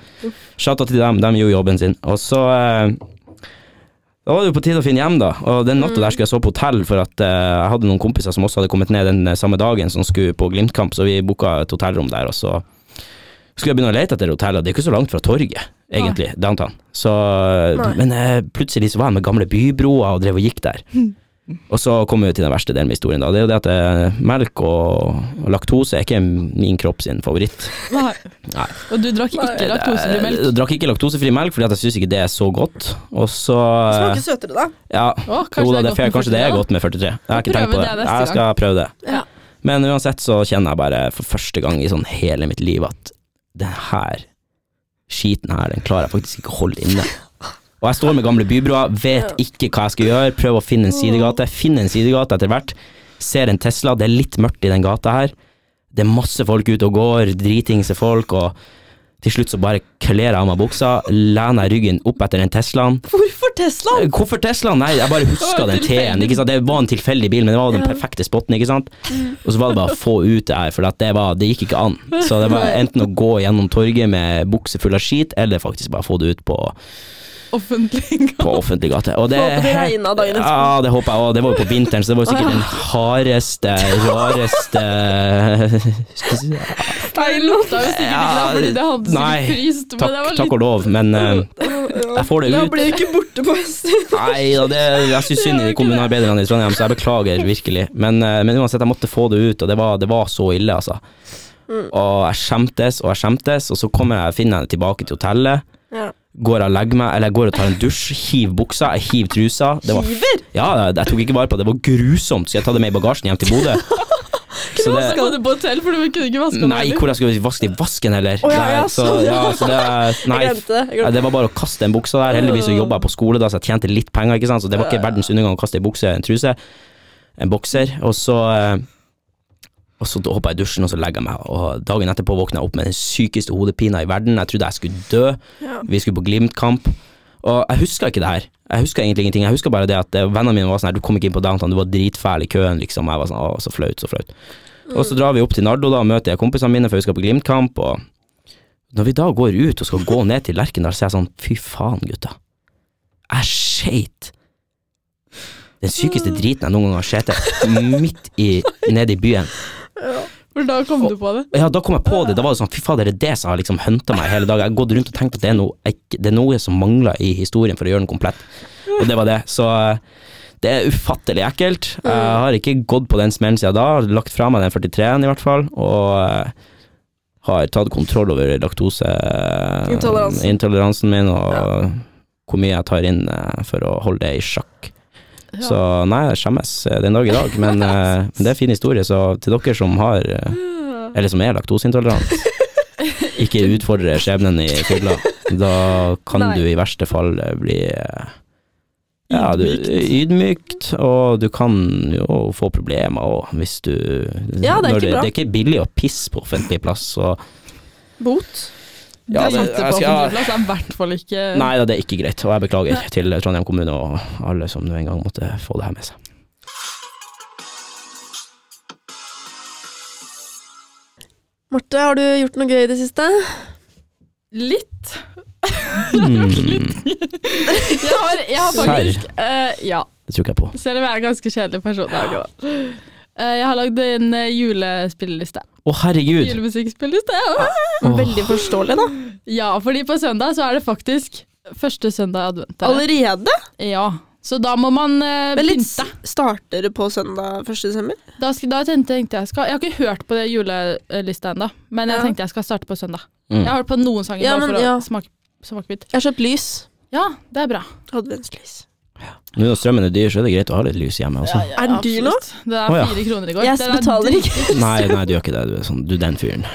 [SPEAKER 2] Shout out til dem, de gjorde jobben sin. Og så eh, Da var det jo på tide å finne hjem, da. Og den natta der skulle jeg sove på hotell, for at eh, jeg hadde noen kompiser som også hadde kommet ned den eh, samme dagen, som skulle på Glimt-kamp, så vi booka et hotellrom der, og så skulle jeg begynne å lete etter hotellet, det er ikke så langt fra torget, egentlig, downtown. Så,
[SPEAKER 1] Nei.
[SPEAKER 2] men eh, plutselig så var jeg med gamle bybroer og drev og gikk der. Og så kommer vi til den verste delen med historien. da, Det er jo det at eh, melk og, og laktose er ikke min kropp sin favoritt.
[SPEAKER 3] Nei.
[SPEAKER 2] Nei.
[SPEAKER 3] Og du drakk ikke laktosefri
[SPEAKER 2] Jeg,
[SPEAKER 3] melk?
[SPEAKER 2] Eh, drakk ikke laktosefri melk fordi at jeg syns ikke det er så godt. Og så
[SPEAKER 1] Det
[SPEAKER 2] eh,
[SPEAKER 1] Smaker søtere, da.
[SPEAKER 2] Ja,
[SPEAKER 3] Å,
[SPEAKER 2] jo da, det er fair.
[SPEAKER 3] med
[SPEAKER 2] Kanskje det er
[SPEAKER 3] 43,
[SPEAKER 2] godt med 43. Jeg har ikke
[SPEAKER 3] Prøve
[SPEAKER 2] tenkt på det.
[SPEAKER 3] det neste
[SPEAKER 2] Jeg skal prøve det.
[SPEAKER 1] Ja.
[SPEAKER 2] Men uansett så kjenner jeg bare for første gang i sånn hele mitt liv at den her skiten her, den klarer jeg faktisk ikke å holde inne. Og jeg står med gamle bybroer, vet ikke hva jeg skal gjøre, prøver å finne en sidegate. Finner en sidegate etter hvert, ser en Tesla, det er litt mørkt i den gata her. Det er masse folk ute og går, dritingse folk, og til slutt så bare kler jeg av meg buksa, lener jeg ryggen opp etter den Teslaen.
[SPEAKER 1] Hvorfor Tesla?
[SPEAKER 2] Hvorfor Tesla? Nei, jeg bare
[SPEAKER 3] Det <laughs>
[SPEAKER 2] huska
[SPEAKER 3] var
[SPEAKER 2] den T-en. ikke sant? Det var en tilfeldig bil, men det var den perfekte spotten. ikke sant?
[SPEAKER 3] Mm.
[SPEAKER 2] Og så var det bare å få ut det her, for at det, var, det gikk ikke an. Så det var enten å gå gjennom torget med bukse full av skit, eller faktisk bare få det ut på,
[SPEAKER 3] da. Offentlig <laughs>
[SPEAKER 2] på offentlig gate. Og det,
[SPEAKER 1] Håper det regnet dagen etterpå.
[SPEAKER 2] Ja, det håper jeg òg. Det var jo på vinteren, så det var jo sikkert den hardeste,
[SPEAKER 3] <laughs>
[SPEAKER 2] rareste Skal vi si
[SPEAKER 3] Nei, lukta jo sikkert ikke da,
[SPEAKER 2] Ja,
[SPEAKER 3] fordi det hadde
[SPEAKER 2] nei,
[SPEAKER 3] sikkert fryst. Men det
[SPEAKER 2] Takk,
[SPEAKER 3] var litt
[SPEAKER 2] takk og lov, men eh, jeg får det
[SPEAKER 1] Da
[SPEAKER 2] ut.
[SPEAKER 1] blir du ikke borte på en
[SPEAKER 2] <laughs>
[SPEAKER 1] stund.
[SPEAKER 2] Nei da, det, jeg syns synd i de kommunearbeiderne i Trondheim, så jeg beklager virkelig. Men, eh, men uansett, jeg måtte få det ut, og det var, det var så ille, altså. Og jeg skjemtes og jeg skjemtes, og så kommer jeg, finner jeg tilbake til hotellet.
[SPEAKER 1] Ja.
[SPEAKER 2] Går jeg og legger meg, eller jeg går og tar en dusj, hiver buksa, jeg hiver trusa. Det var,
[SPEAKER 1] Hiver?
[SPEAKER 2] ja, jeg tok ikke vare på det, det var grusomt. Skal jeg ta det med i bagasjen hjem til
[SPEAKER 1] <laughs>
[SPEAKER 2] Bodø? Så det-
[SPEAKER 1] altså.
[SPEAKER 3] Skal du på hotell, for du kunne ikke vaske den
[SPEAKER 2] Nei,
[SPEAKER 3] heller.
[SPEAKER 2] hvor jeg skulle vaske det i vasken, eller?
[SPEAKER 1] Å, ja, ja,
[SPEAKER 2] Nei, så,
[SPEAKER 1] sånn.
[SPEAKER 2] ja, så det er, nei,
[SPEAKER 1] Jeg glemte det. Jeg
[SPEAKER 2] ja,
[SPEAKER 1] glemte.
[SPEAKER 2] det var bare å kaste den buksa der. Heldigvis så jobba jeg på skole, da, så jeg tjente litt penger, ikke sant? så det var ikke verdens undergang å kaste ei bukse, en truse, en bokser. Og så eh, og så hoppa jeg i dusjen, og så legger jeg meg. Og dagen etterpå våkna jeg opp med den sykeste hodepina i verden. Jeg trodde jeg skulle dø.
[SPEAKER 1] Ja.
[SPEAKER 2] Vi skulle på Glimt-kamp. Og jeg huska ikke det her. Jeg huska egentlig ingenting. Jeg huska bare det at eh, vennene mine var sånn her, du kom ikke inn på downtown, du var dritfæl i køen, liksom. Jeg var sånn, å, så flaut, så flaut. Og så drar vi opp til Nardo, da, og møter jeg kompisene mine, for vi skal på Glimt-kamp, og når vi da går ut og skal gå ned til Lerkendal, så er jeg sånn, fy faen, gutta. Jeg skeit. den sykeste driten jeg noen gang har sett, midt i, nede i byen.
[SPEAKER 3] For da kom du på det.
[SPEAKER 2] Ja, da kom jeg på det. Da var det sånn, fy fader, det er det som har liksom hunta meg hele dagen. Jeg har gått rundt og tenkt at det er noe, jeg ikke- det er noe som mangler i historien for å gjøre den komplett. Og det var det. Så eh, det er ufattelig ekkelt. Jeg har ikke gått på den smellen siden da. Har Lagt fra meg den 43-en i hvert fall, og eh, har tatt kontroll over
[SPEAKER 1] Intoleransen.
[SPEAKER 2] laktoseintoleransen min, og hvor mye jeg tar inn eh, for å holde det i sjakk.
[SPEAKER 3] Ja.
[SPEAKER 2] Så nei, jeg skjemmes eh, den dag i dag, men eh, det er en fin historie, så til dere som har eh, eller som er laktoseintolerant.
[SPEAKER 1] <laughs>
[SPEAKER 2] Ikke utfordre skjebnen i fylla. Da kan
[SPEAKER 3] Nei.
[SPEAKER 2] du i verste fall bli eh, ja, du,
[SPEAKER 3] Ydmykt.
[SPEAKER 2] ydmykt, og du kan jo få problemer òg, hvis du
[SPEAKER 1] Ja, det er ikke bra.
[SPEAKER 2] det er ikke billig å pisse på offentlig plass, så
[SPEAKER 1] Bot?
[SPEAKER 2] Ja, det-
[SPEAKER 3] det satte på
[SPEAKER 2] jeg skal-
[SPEAKER 3] offentlig plass, det er i hvert fall ikke
[SPEAKER 2] Nei da, det er ikke greit, og jeg beklager til Trondheim kommune og alle som nå en gang måtte få det her med seg.
[SPEAKER 1] Marte, har du gjort noe gøy i det siste?
[SPEAKER 3] Litt.
[SPEAKER 2] Mm,
[SPEAKER 1] Hmm.
[SPEAKER 3] <laughs> Jeg har, jeg har faktisk eh, Ja.
[SPEAKER 2] det tror ikke jeg på.
[SPEAKER 3] Selv om jeg er en ganske kjedelig person. Jeg, er ikke det. Eh, jeg har lagd en eh, julespilleliste.
[SPEAKER 2] Å, herregud!
[SPEAKER 3] Julemusikkspilleliste. Ja.
[SPEAKER 2] Åh.
[SPEAKER 1] Veldig forståelig, da.
[SPEAKER 3] ja, fordi på søndag så er det faktisk første søndag i advent. eller?
[SPEAKER 1] Allerede?
[SPEAKER 3] Ja. Så da må man eh,
[SPEAKER 1] Men litt
[SPEAKER 3] pynte.
[SPEAKER 1] starter det på søndag 1. desember?
[SPEAKER 3] Da, sk- da tenkte, tenkte jeg skal, Jeg har ikke hørt på det julelista ennå, men jeg
[SPEAKER 1] Ja.
[SPEAKER 3] tenkte jeg skal starte på søndag.
[SPEAKER 2] Mm.
[SPEAKER 3] Jeg har hørt på noen sanger
[SPEAKER 1] Ja,
[SPEAKER 3] bare
[SPEAKER 1] men
[SPEAKER 3] for
[SPEAKER 1] ja.
[SPEAKER 3] å smake, smake litt.
[SPEAKER 1] Jeg har kjøpt lys.
[SPEAKER 3] Ja, det er bra.
[SPEAKER 1] Adventslys.
[SPEAKER 2] Nå når strømmen er dyr, så er det greit å ha litt lys hjemme også.
[SPEAKER 1] Er den dyr nå?
[SPEAKER 3] Absolutt. Det er
[SPEAKER 2] Å, ja.
[SPEAKER 3] fire kroner i går.
[SPEAKER 1] Jeg
[SPEAKER 3] Den er
[SPEAKER 1] betaler
[SPEAKER 3] dyr.
[SPEAKER 1] ikke.
[SPEAKER 2] Nei, nei, du gjør ikke det. Du er sånn, du er den fyren.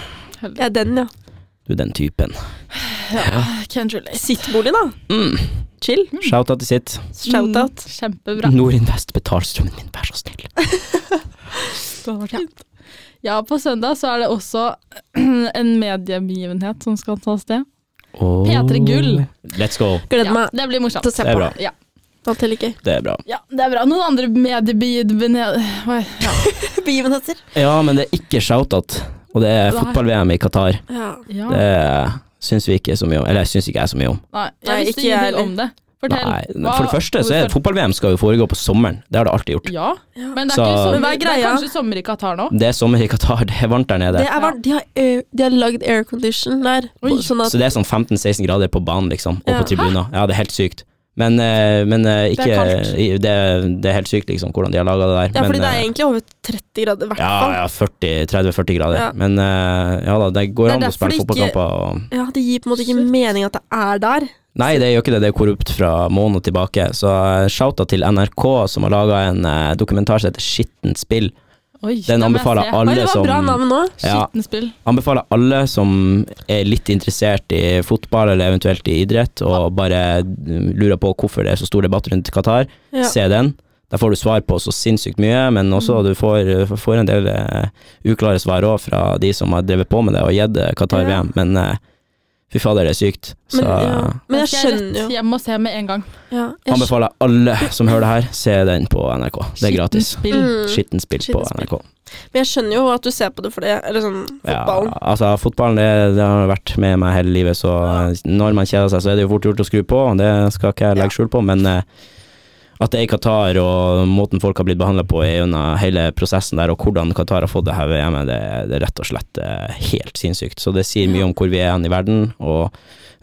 [SPEAKER 1] Jeg er den, ja.
[SPEAKER 2] Du er den typen.
[SPEAKER 3] Can't relate.
[SPEAKER 1] Sittbolig, da.
[SPEAKER 2] Mm.
[SPEAKER 1] Chill.
[SPEAKER 2] Shout-out til sitt.
[SPEAKER 1] Shout-out.
[SPEAKER 3] Mm,
[SPEAKER 2] Mhm.
[SPEAKER 3] Kjempebra.
[SPEAKER 2] Norinvest, betal strømmen min, vær så
[SPEAKER 1] <laughs>
[SPEAKER 2] snill.
[SPEAKER 3] Ja. ja, på søndag så er det også <clears throat> en mediebegivenhet som skal ta sted.
[SPEAKER 2] Oh.
[SPEAKER 3] P3 Gull.
[SPEAKER 2] Let's go.
[SPEAKER 1] Gleder
[SPEAKER 3] Ja,
[SPEAKER 1] meg
[SPEAKER 3] det blir morsomt.
[SPEAKER 1] til å se
[SPEAKER 2] Det er
[SPEAKER 1] på.
[SPEAKER 2] bra.
[SPEAKER 3] Ja.
[SPEAKER 1] Alt er
[SPEAKER 2] <laughs>
[SPEAKER 1] like gøy.
[SPEAKER 2] Det er bra.
[SPEAKER 3] ja, det er bra. Noen andre mediebegivenheter Oi, ja.
[SPEAKER 1] Begivenheter.
[SPEAKER 2] Ja, men det er ikke shout-out, og det er
[SPEAKER 3] Nei.
[SPEAKER 2] fotball-VM i Qatar.
[SPEAKER 1] Ja.
[SPEAKER 3] Ja.
[SPEAKER 2] Det syns vi ikke så mye om. Eller syns ikke jeg så mye om.
[SPEAKER 3] Nei,
[SPEAKER 1] Nei,
[SPEAKER 3] jeg
[SPEAKER 1] ikke jeg
[SPEAKER 3] visste ingenting
[SPEAKER 1] heller.
[SPEAKER 3] om det. Fortell.
[SPEAKER 2] Nei,
[SPEAKER 3] Hva-
[SPEAKER 2] for det første så er
[SPEAKER 3] hvorfor-
[SPEAKER 2] fotball-VM skal jo foregå på sommeren. Det har det alltid gjort.
[SPEAKER 3] Ja, men det er,
[SPEAKER 2] Så-
[SPEAKER 3] ikke sommer,
[SPEAKER 1] Men hva er
[SPEAKER 3] det er
[SPEAKER 1] greia?
[SPEAKER 3] kanskje sommer i Qatar nå?
[SPEAKER 2] Det er sommer i Qatar, <laughs> det er varmt der nede.
[SPEAKER 1] Det er varmt. De har, ø, de har lagd aircondition der.
[SPEAKER 3] Oi.
[SPEAKER 1] Sånn at
[SPEAKER 2] Så det er sånn 15-16 grader på banen, liksom, og
[SPEAKER 1] Ja.
[SPEAKER 2] på tribuner. Ja, det er helt sykt. Men, eh, men eh, ikke
[SPEAKER 3] Det er kaldt.
[SPEAKER 2] i- det, er- det er helt sykt, liksom, hvordan de har laga det der.
[SPEAKER 1] Ja,
[SPEAKER 2] men,
[SPEAKER 1] fordi det er
[SPEAKER 2] eh,
[SPEAKER 1] egentlig over 30 grader, i hvert fall.
[SPEAKER 2] ja, ja 40 30-40 grader.
[SPEAKER 1] Ja.
[SPEAKER 2] Men eh, ja da, det går
[SPEAKER 1] Det er
[SPEAKER 2] an å
[SPEAKER 1] derfor
[SPEAKER 2] spille
[SPEAKER 1] det ikke-
[SPEAKER 2] fotballkamper og
[SPEAKER 1] Ja, Det gir på en måte ikke mening at det er der.
[SPEAKER 2] Nei, det gjør ikke det. Det er korrupt fra måned tilbake. Så eh, shouta til NRK, som har laga en eh, dokumentar som heter Skittent spill.
[SPEAKER 3] Oi,
[SPEAKER 2] Den
[SPEAKER 3] da må jeg
[SPEAKER 1] Oi,
[SPEAKER 2] anbefaler
[SPEAKER 3] se.
[SPEAKER 1] det
[SPEAKER 2] alle
[SPEAKER 1] var
[SPEAKER 2] som
[SPEAKER 1] bra navn nå.
[SPEAKER 2] ja,
[SPEAKER 3] Skittent spill.
[SPEAKER 2] Anbefaler alle som er litt interessert i fotball eller eventuelt i idrett, og bare mm, lurer på hvorfor det er så stor debatt rundt Qatar,
[SPEAKER 1] Ja.
[SPEAKER 2] se den. Der får du svar på så sinnssykt mye, men
[SPEAKER 1] Mm.
[SPEAKER 2] også du får, får en del eh, uklare svar òg fra de som har drevet på med det og gitt eh, Qatar
[SPEAKER 1] Ja.
[SPEAKER 2] VM, men eh, fy fader, det er sykt.
[SPEAKER 1] Men,
[SPEAKER 2] Så
[SPEAKER 1] ja. Men
[SPEAKER 3] Den
[SPEAKER 1] jeg
[SPEAKER 3] skal jeg
[SPEAKER 1] skjønner jo
[SPEAKER 3] rett hjem og se med en gang.
[SPEAKER 1] ja, jeg skj-
[SPEAKER 2] anbefaler alle som hører det her, se den på NRK. Det er gratis.
[SPEAKER 3] Skittent spill.
[SPEAKER 1] Mm.
[SPEAKER 2] Skittent spill på
[SPEAKER 1] Skittent spill.
[SPEAKER 2] NRK.
[SPEAKER 1] Men jeg skjønner jo at du ser på det for det, eller sånn fotballen.
[SPEAKER 2] Ja, altså, fotballen det, det har vært med meg hele livet, så eh, når man kjeder seg, så er det jo fort gjort å skru på. Det skal ikke jeg legge skjul på, men eh, at det er i Qatar og måten folk har blitt behandla på gjennom hele prosessen der, og hvordan Qatar har fått det her VM-et, det, det er rett og slett eh, helt sinnssykt. Så det sier mye om hvor vi er hen i verden, og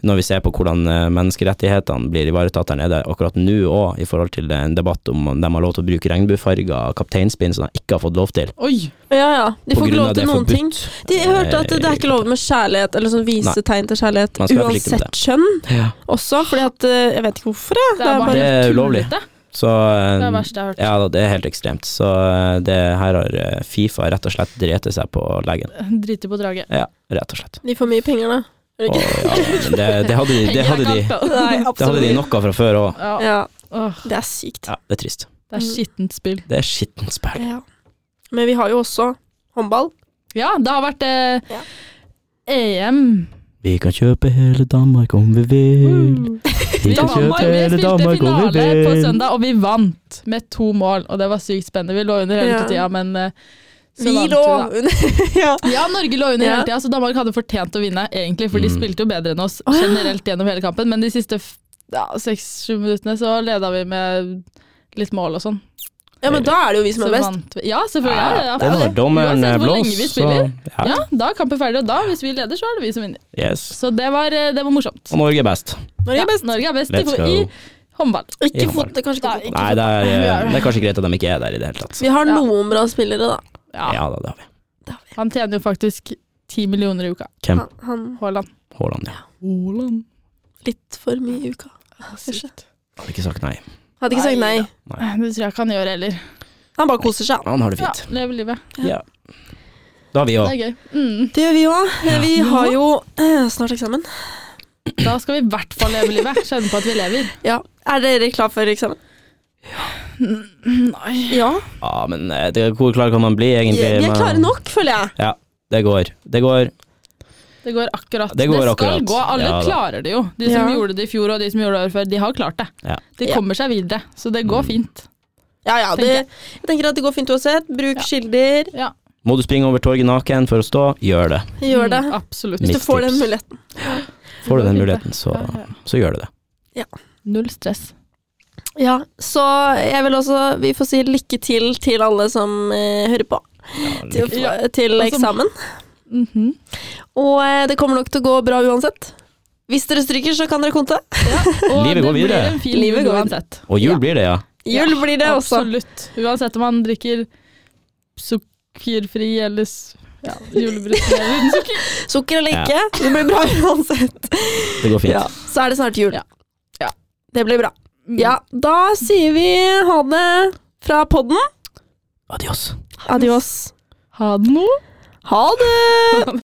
[SPEAKER 2] når vi ser på hvordan eh, menneskerettighetene blir ivaretatt der nede akkurat nå òg, i forhold til en debatt om de har lov til å bruke regnbuefarger kapteinspinn som de ikke har fått lov til.
[SPEAKER 3] Oi,
[SPEAKER 1] Ja, ja. De
[SPEAKER 2] På
[SPEAKER 1] får ikke
[SPEAKER 2] grunn
[SPEAKER 1] lov
[SPEAKER 2] av det
[SPEAKER 1] til
[SPEAKER 2] er
[SPEAKER 1] noen ting. De jeg hørte at det er ikke lov med kjærlighet, eller sånn vise
[SPEAKER 2] Nei.
[SPEAKER 1] tegn til kjærlighet,
[SPEAKER 2] Man skal i hvert fall ikke med
[SPEAKER 1] uansett kjønn
[SPEAKER 2] Ja.
[SPEAKER 1] også, fordi at eh, Jeg vet ikke hvorfor, jeg.
[SPEAKER 3] det er bare
[SPEAKER 2] Det er ulovlig.
[SPEAKER 3] tullete.
[SPEAKER 2] Så
[SPEAKER 3] Det er
[SPEAKER 2] eh,
[SPEAKER 3] det verste jeg har hørt.
[SPEAKER 2] Ja, da, det er helt ekstremt. Så eh, det her har eh, Fifa rett og slett drept seg på leggen.
[SPEAKER 3] <laughs> Driter på draget.
[SPEAKER 2] Ja, rett og
[SPEAKER 3] <laughs>
[SPEAKER 2] slett.
[SPEAKER 1] De får mye penger, da.
[SPEAKER 2] Og, ja, men det, det, hadde de, det, hadde de,
[SPEAKER 1] Nei,
[SPEAKER 3] <laughs>
[SPEAKER 2] det hadde de
[SPEAKER 1] absolutt.
[SPEAKER 2] nok av fra før òg.
[SPEAKER 3] Ja.
[SPEAKER 1] Ja, Mm.
[SPEAKER 3] Åh,
[SPEAKER 1] det er sykt.
[SPEAKER 2] Ja, det er trist.
[SPEAKER 3] det er skittent spill.
[SPEAKER 2] Det er skittent spill.
[SPEAKER 1] Ja. Men vi har jo også håndball.
[SPEAKER 3] Ja, det har vært eh, E
[SPEAKER 1] Ja.
[SPEAKER 3] EM.
[SPEAKER 2] Vi kan kjøpe hele Danmark om vi vil.
[SPEAKER 1] Mm.
[SPEAKER 2] Vi kan
[SPEAKER 3] Danmark,
[SPEAKER 2] kjøpe
[SPEAKER 3] vi
[SPEAKER 2] hele
[SPEAKER 3] spilte
[SPEAKER 2] Danmark om vi
[SPEAKER 3] finale på
[SPEAKER 2] vil.
[SPEAKER 3] søndag, og vi vant med to mål. Og det var sykt spennende. Vi lå under hele
[SPEAKER 1] Ja.
[SPEAKER 3] tida, men eh, så
[SPEAKER 1] Vi
[SPEAKER 3] vant
[SPEAKER 1] lå
[SPEAKER 3] da.
[SPEAKER 1] <laughs> ja.
[SPEAKER 3] Ja, Norge lå under
[SPEAKER 1] Ja.
[SPEAKER 3] hele tida, så Danmark hadde fortjent å vinne, egentlig, for de
[SPEAKER 2] Mm.
[SPEAKER 3] spilte jo bedre enn oss
[SPEAKER 1] ja.
[SPEAKER 3] generelt gjennom hele kampen. Men de siste f- ja, seks-sju minuttene så leda vi med litt mål og sånn.
[SPEAKER 1] Ja, men da er det jo vi som
[SPEAKER 3] Så
[SPEAKER 1] er best.
[SPEAKER 3] vant vi. Ja, selvfølgelig. Ja, ja,
[SPEAKER 2] det er når dommeren
[SPEAKER 3] Uansett hvor
[SPEAKER 2] blåser,
[SPEAKER 3] lenge vi
[SPEAKER 2] eh, så
[SPEAKER 3] spiller.
[SPEAKER 2] ja.
[SPEAKER 3] Ja, da er kampen ferdig, og da, hvis vi leder, så er det vi som vinner.
[SPEAKER 2] Yes.
[SPEAKER 3] Så det var, eh, det var morsomt.
[SPEAKER 2] Og Norge er best.
[SPEAKER 1] Norge
[SPEAKER 3] Ja,
[SPEAKER 1] er best.
[SPEAKER 3] Norge er best i,
[SPEAKER 2] Let's go.
[SPEAKER 3] i håndball.
[SPEAKER 1] Ikke
[SPEAKER 2] Ja.
[SPEAKER 1] fot, det er kanskje ikke
[SPEAKER 3] Nei.
[SPEAKER 1] fot.
[SPEAKER 2] Nei, det er, eh, det er kanskje greit at de ikke er der i det hele tatt.
[SPEAKER 1] Vi har
[SPEAKER 3] Ja.
[SPEAKER 1] noen bra spillere, da.
[SPEAKER 3] Ja.
[SPEAKER 2] Ja da, det har vi.
[SPEAKER 3] Han tjener jo faktisk ti millioner i uka.
[SPEAKER 2] Hvem?
[SPEAKER 1] Han, han
[SPEAKER 3] Haaland.
[SPEAKER 2] Haaland, ja.
[SPEAKER 3] Haaland.
[SPEAKER 1] litt for mye i uka.
[SPEAKER 3] Ah,
[SPEAKER 1] Kanskje.
[SPEAKER 2] Hadde ikke sagt nei.
[SPEAKER 1] Hadde ikke sagt nei.
[SPEAKER 3] Nei. Det tror jeg ikke han gjør heller.
[SPEAKER 1] Han bare koser seg.
[SPEAKER 2] Han har det
[SPEAKER 3] Ja,
[SPEAKER 2] fint.
[SPEAKER 3] Lever livet.
[SPEAKER 2] Ja. Da har vi
[SPEAKER 3] Det
[SPEAKER 2] òg.
[SPEAKER 3] er gøy. Mm.
[SPEAKER 1] Det gjør vi òg. Vi har jo eh, snart eksamen.
[SPEAKER 3] Da skal vi i hvert fall leve livet. Kjenne på at vi lever.
[SPEAKER 1] Ja. Er dere klar for eksamen?
[SPEAKER 3] Nei.
[SPEAKER 1] Ja.
[SPEAKER 2] Ja, men eh, det, hvor klar kan man bli,
[SPEAKER 1] Vi
[SPEAKER 2] egentlig?
[SPEAKER 1] vi er
[SPEAKER 2] med-
[SPEAKER 1] klare nok, føler jeg.
[SPEAKER 2] Ja, det går. Det går.
[SPEAKER 3] Det går akkurat.
[SPEAKER 2] Det går
[SPEAKER 3] skal
[SPEAKER 2] akkurat.
[SPEAKER 3] gå. Alle
[SPEAKER 2] Ja da.
[SPEAKER 3] klarer det jo. De som
[SPEAKER 1] Ja.
[SPEAKER 3] gjorde det i fjor og de som gjorde det året før, de har klart det.
[SPEAKER 2] Ja. Mm.
[SPEAKER 3] De
[SPEAKER 1] Ja.
[SPEAKER 3] kommer seg videre, så det går fint.
[SPEAKER 1] Ja, ja, det,
[SPEAKER 3] Tenker jeg.
[SPEAKER 1] jeg tenker at det går fint uansett. Bruk kilder.
[SPEAKER 3] Ja.
[SPEAKER 2] Må du springe over torget naken for å stå, gjør det.
[SPEAKER 1] Gjør det.
[SPEAKER 3] Mm, absolutt.
[SPEAKER 1] Hvis du
[SPEAKER 2] Mitt
[SPEAKER 1] får den
[SPEAKER 2] tips.
[SPEAKER 1] muligheten.
[SPEAKER 2] Får du den
[SPEAKER 3] Det går
[SPEAKER 2] muligheten,
[SPEAKER 3] fint,
[SPEAKER 2] så,
[SPEAKER 3] det. Ja, ja.
[SPEAKER 2] så gjør du det.
[SPEAKER 3] Null stress.
[SPEAKER 1] Ja, så jeg vil også Vi får si lykke til til alle som eh, hører på til, eh,
[SPEAKER 2] Ja,
[SPEAKER 1] til
[SPEAKER 3] Og som-
[SPEAKER 1] eksamen.
[SPEAKER 3] Mhm.
[SPEAKER 1] Og eh, det kommer nok til å gå bra uansett. Hvis dere stryker, så kan dere konte.
[SPEAKER 3] Og
[SPEAKER 2] Livet går
[SPEAKER 3] det
[SPEAKER 2] videre.
[SPEAKER 3] Blir en fin
[SPEAKER 1] Livet
[SPEAKER 3] jul
[SPEAKER 1] går-
[SPEAKER 3] uansett.
[SPEAKER 2] og jul blir det, ja.
[SPEAKER 1] Jul blir det også.
[SPEAKER 3] Absolutt. Uansett om man drikker sukkerfri eller s- ja, julebrus
[SPEAKER 1] <laughs>
[SPEAKER 3] eller uten sukker.
[SPEAKER 1] Sukker eller
[SPEAKER 2] Ja.
[SPEAKER 1] ikke, det blir bra uansett.
[SPEAKER 2] Det går fint.
[SPEAKER 1] Ja, så er det snart jul.
[SPEAKER 3] Ja. Ja.
[SPEAKER 1] Det blir bra. Ja, da sier vi ha det fra podden.
[SPEAKER 2] Adios.
[SPEAKER 1] Adios. <laughs>
[SPEAKER 3] Ha det nå.
[SPEAKER 1] Ha det!
[SPEAKER 3] Ha det.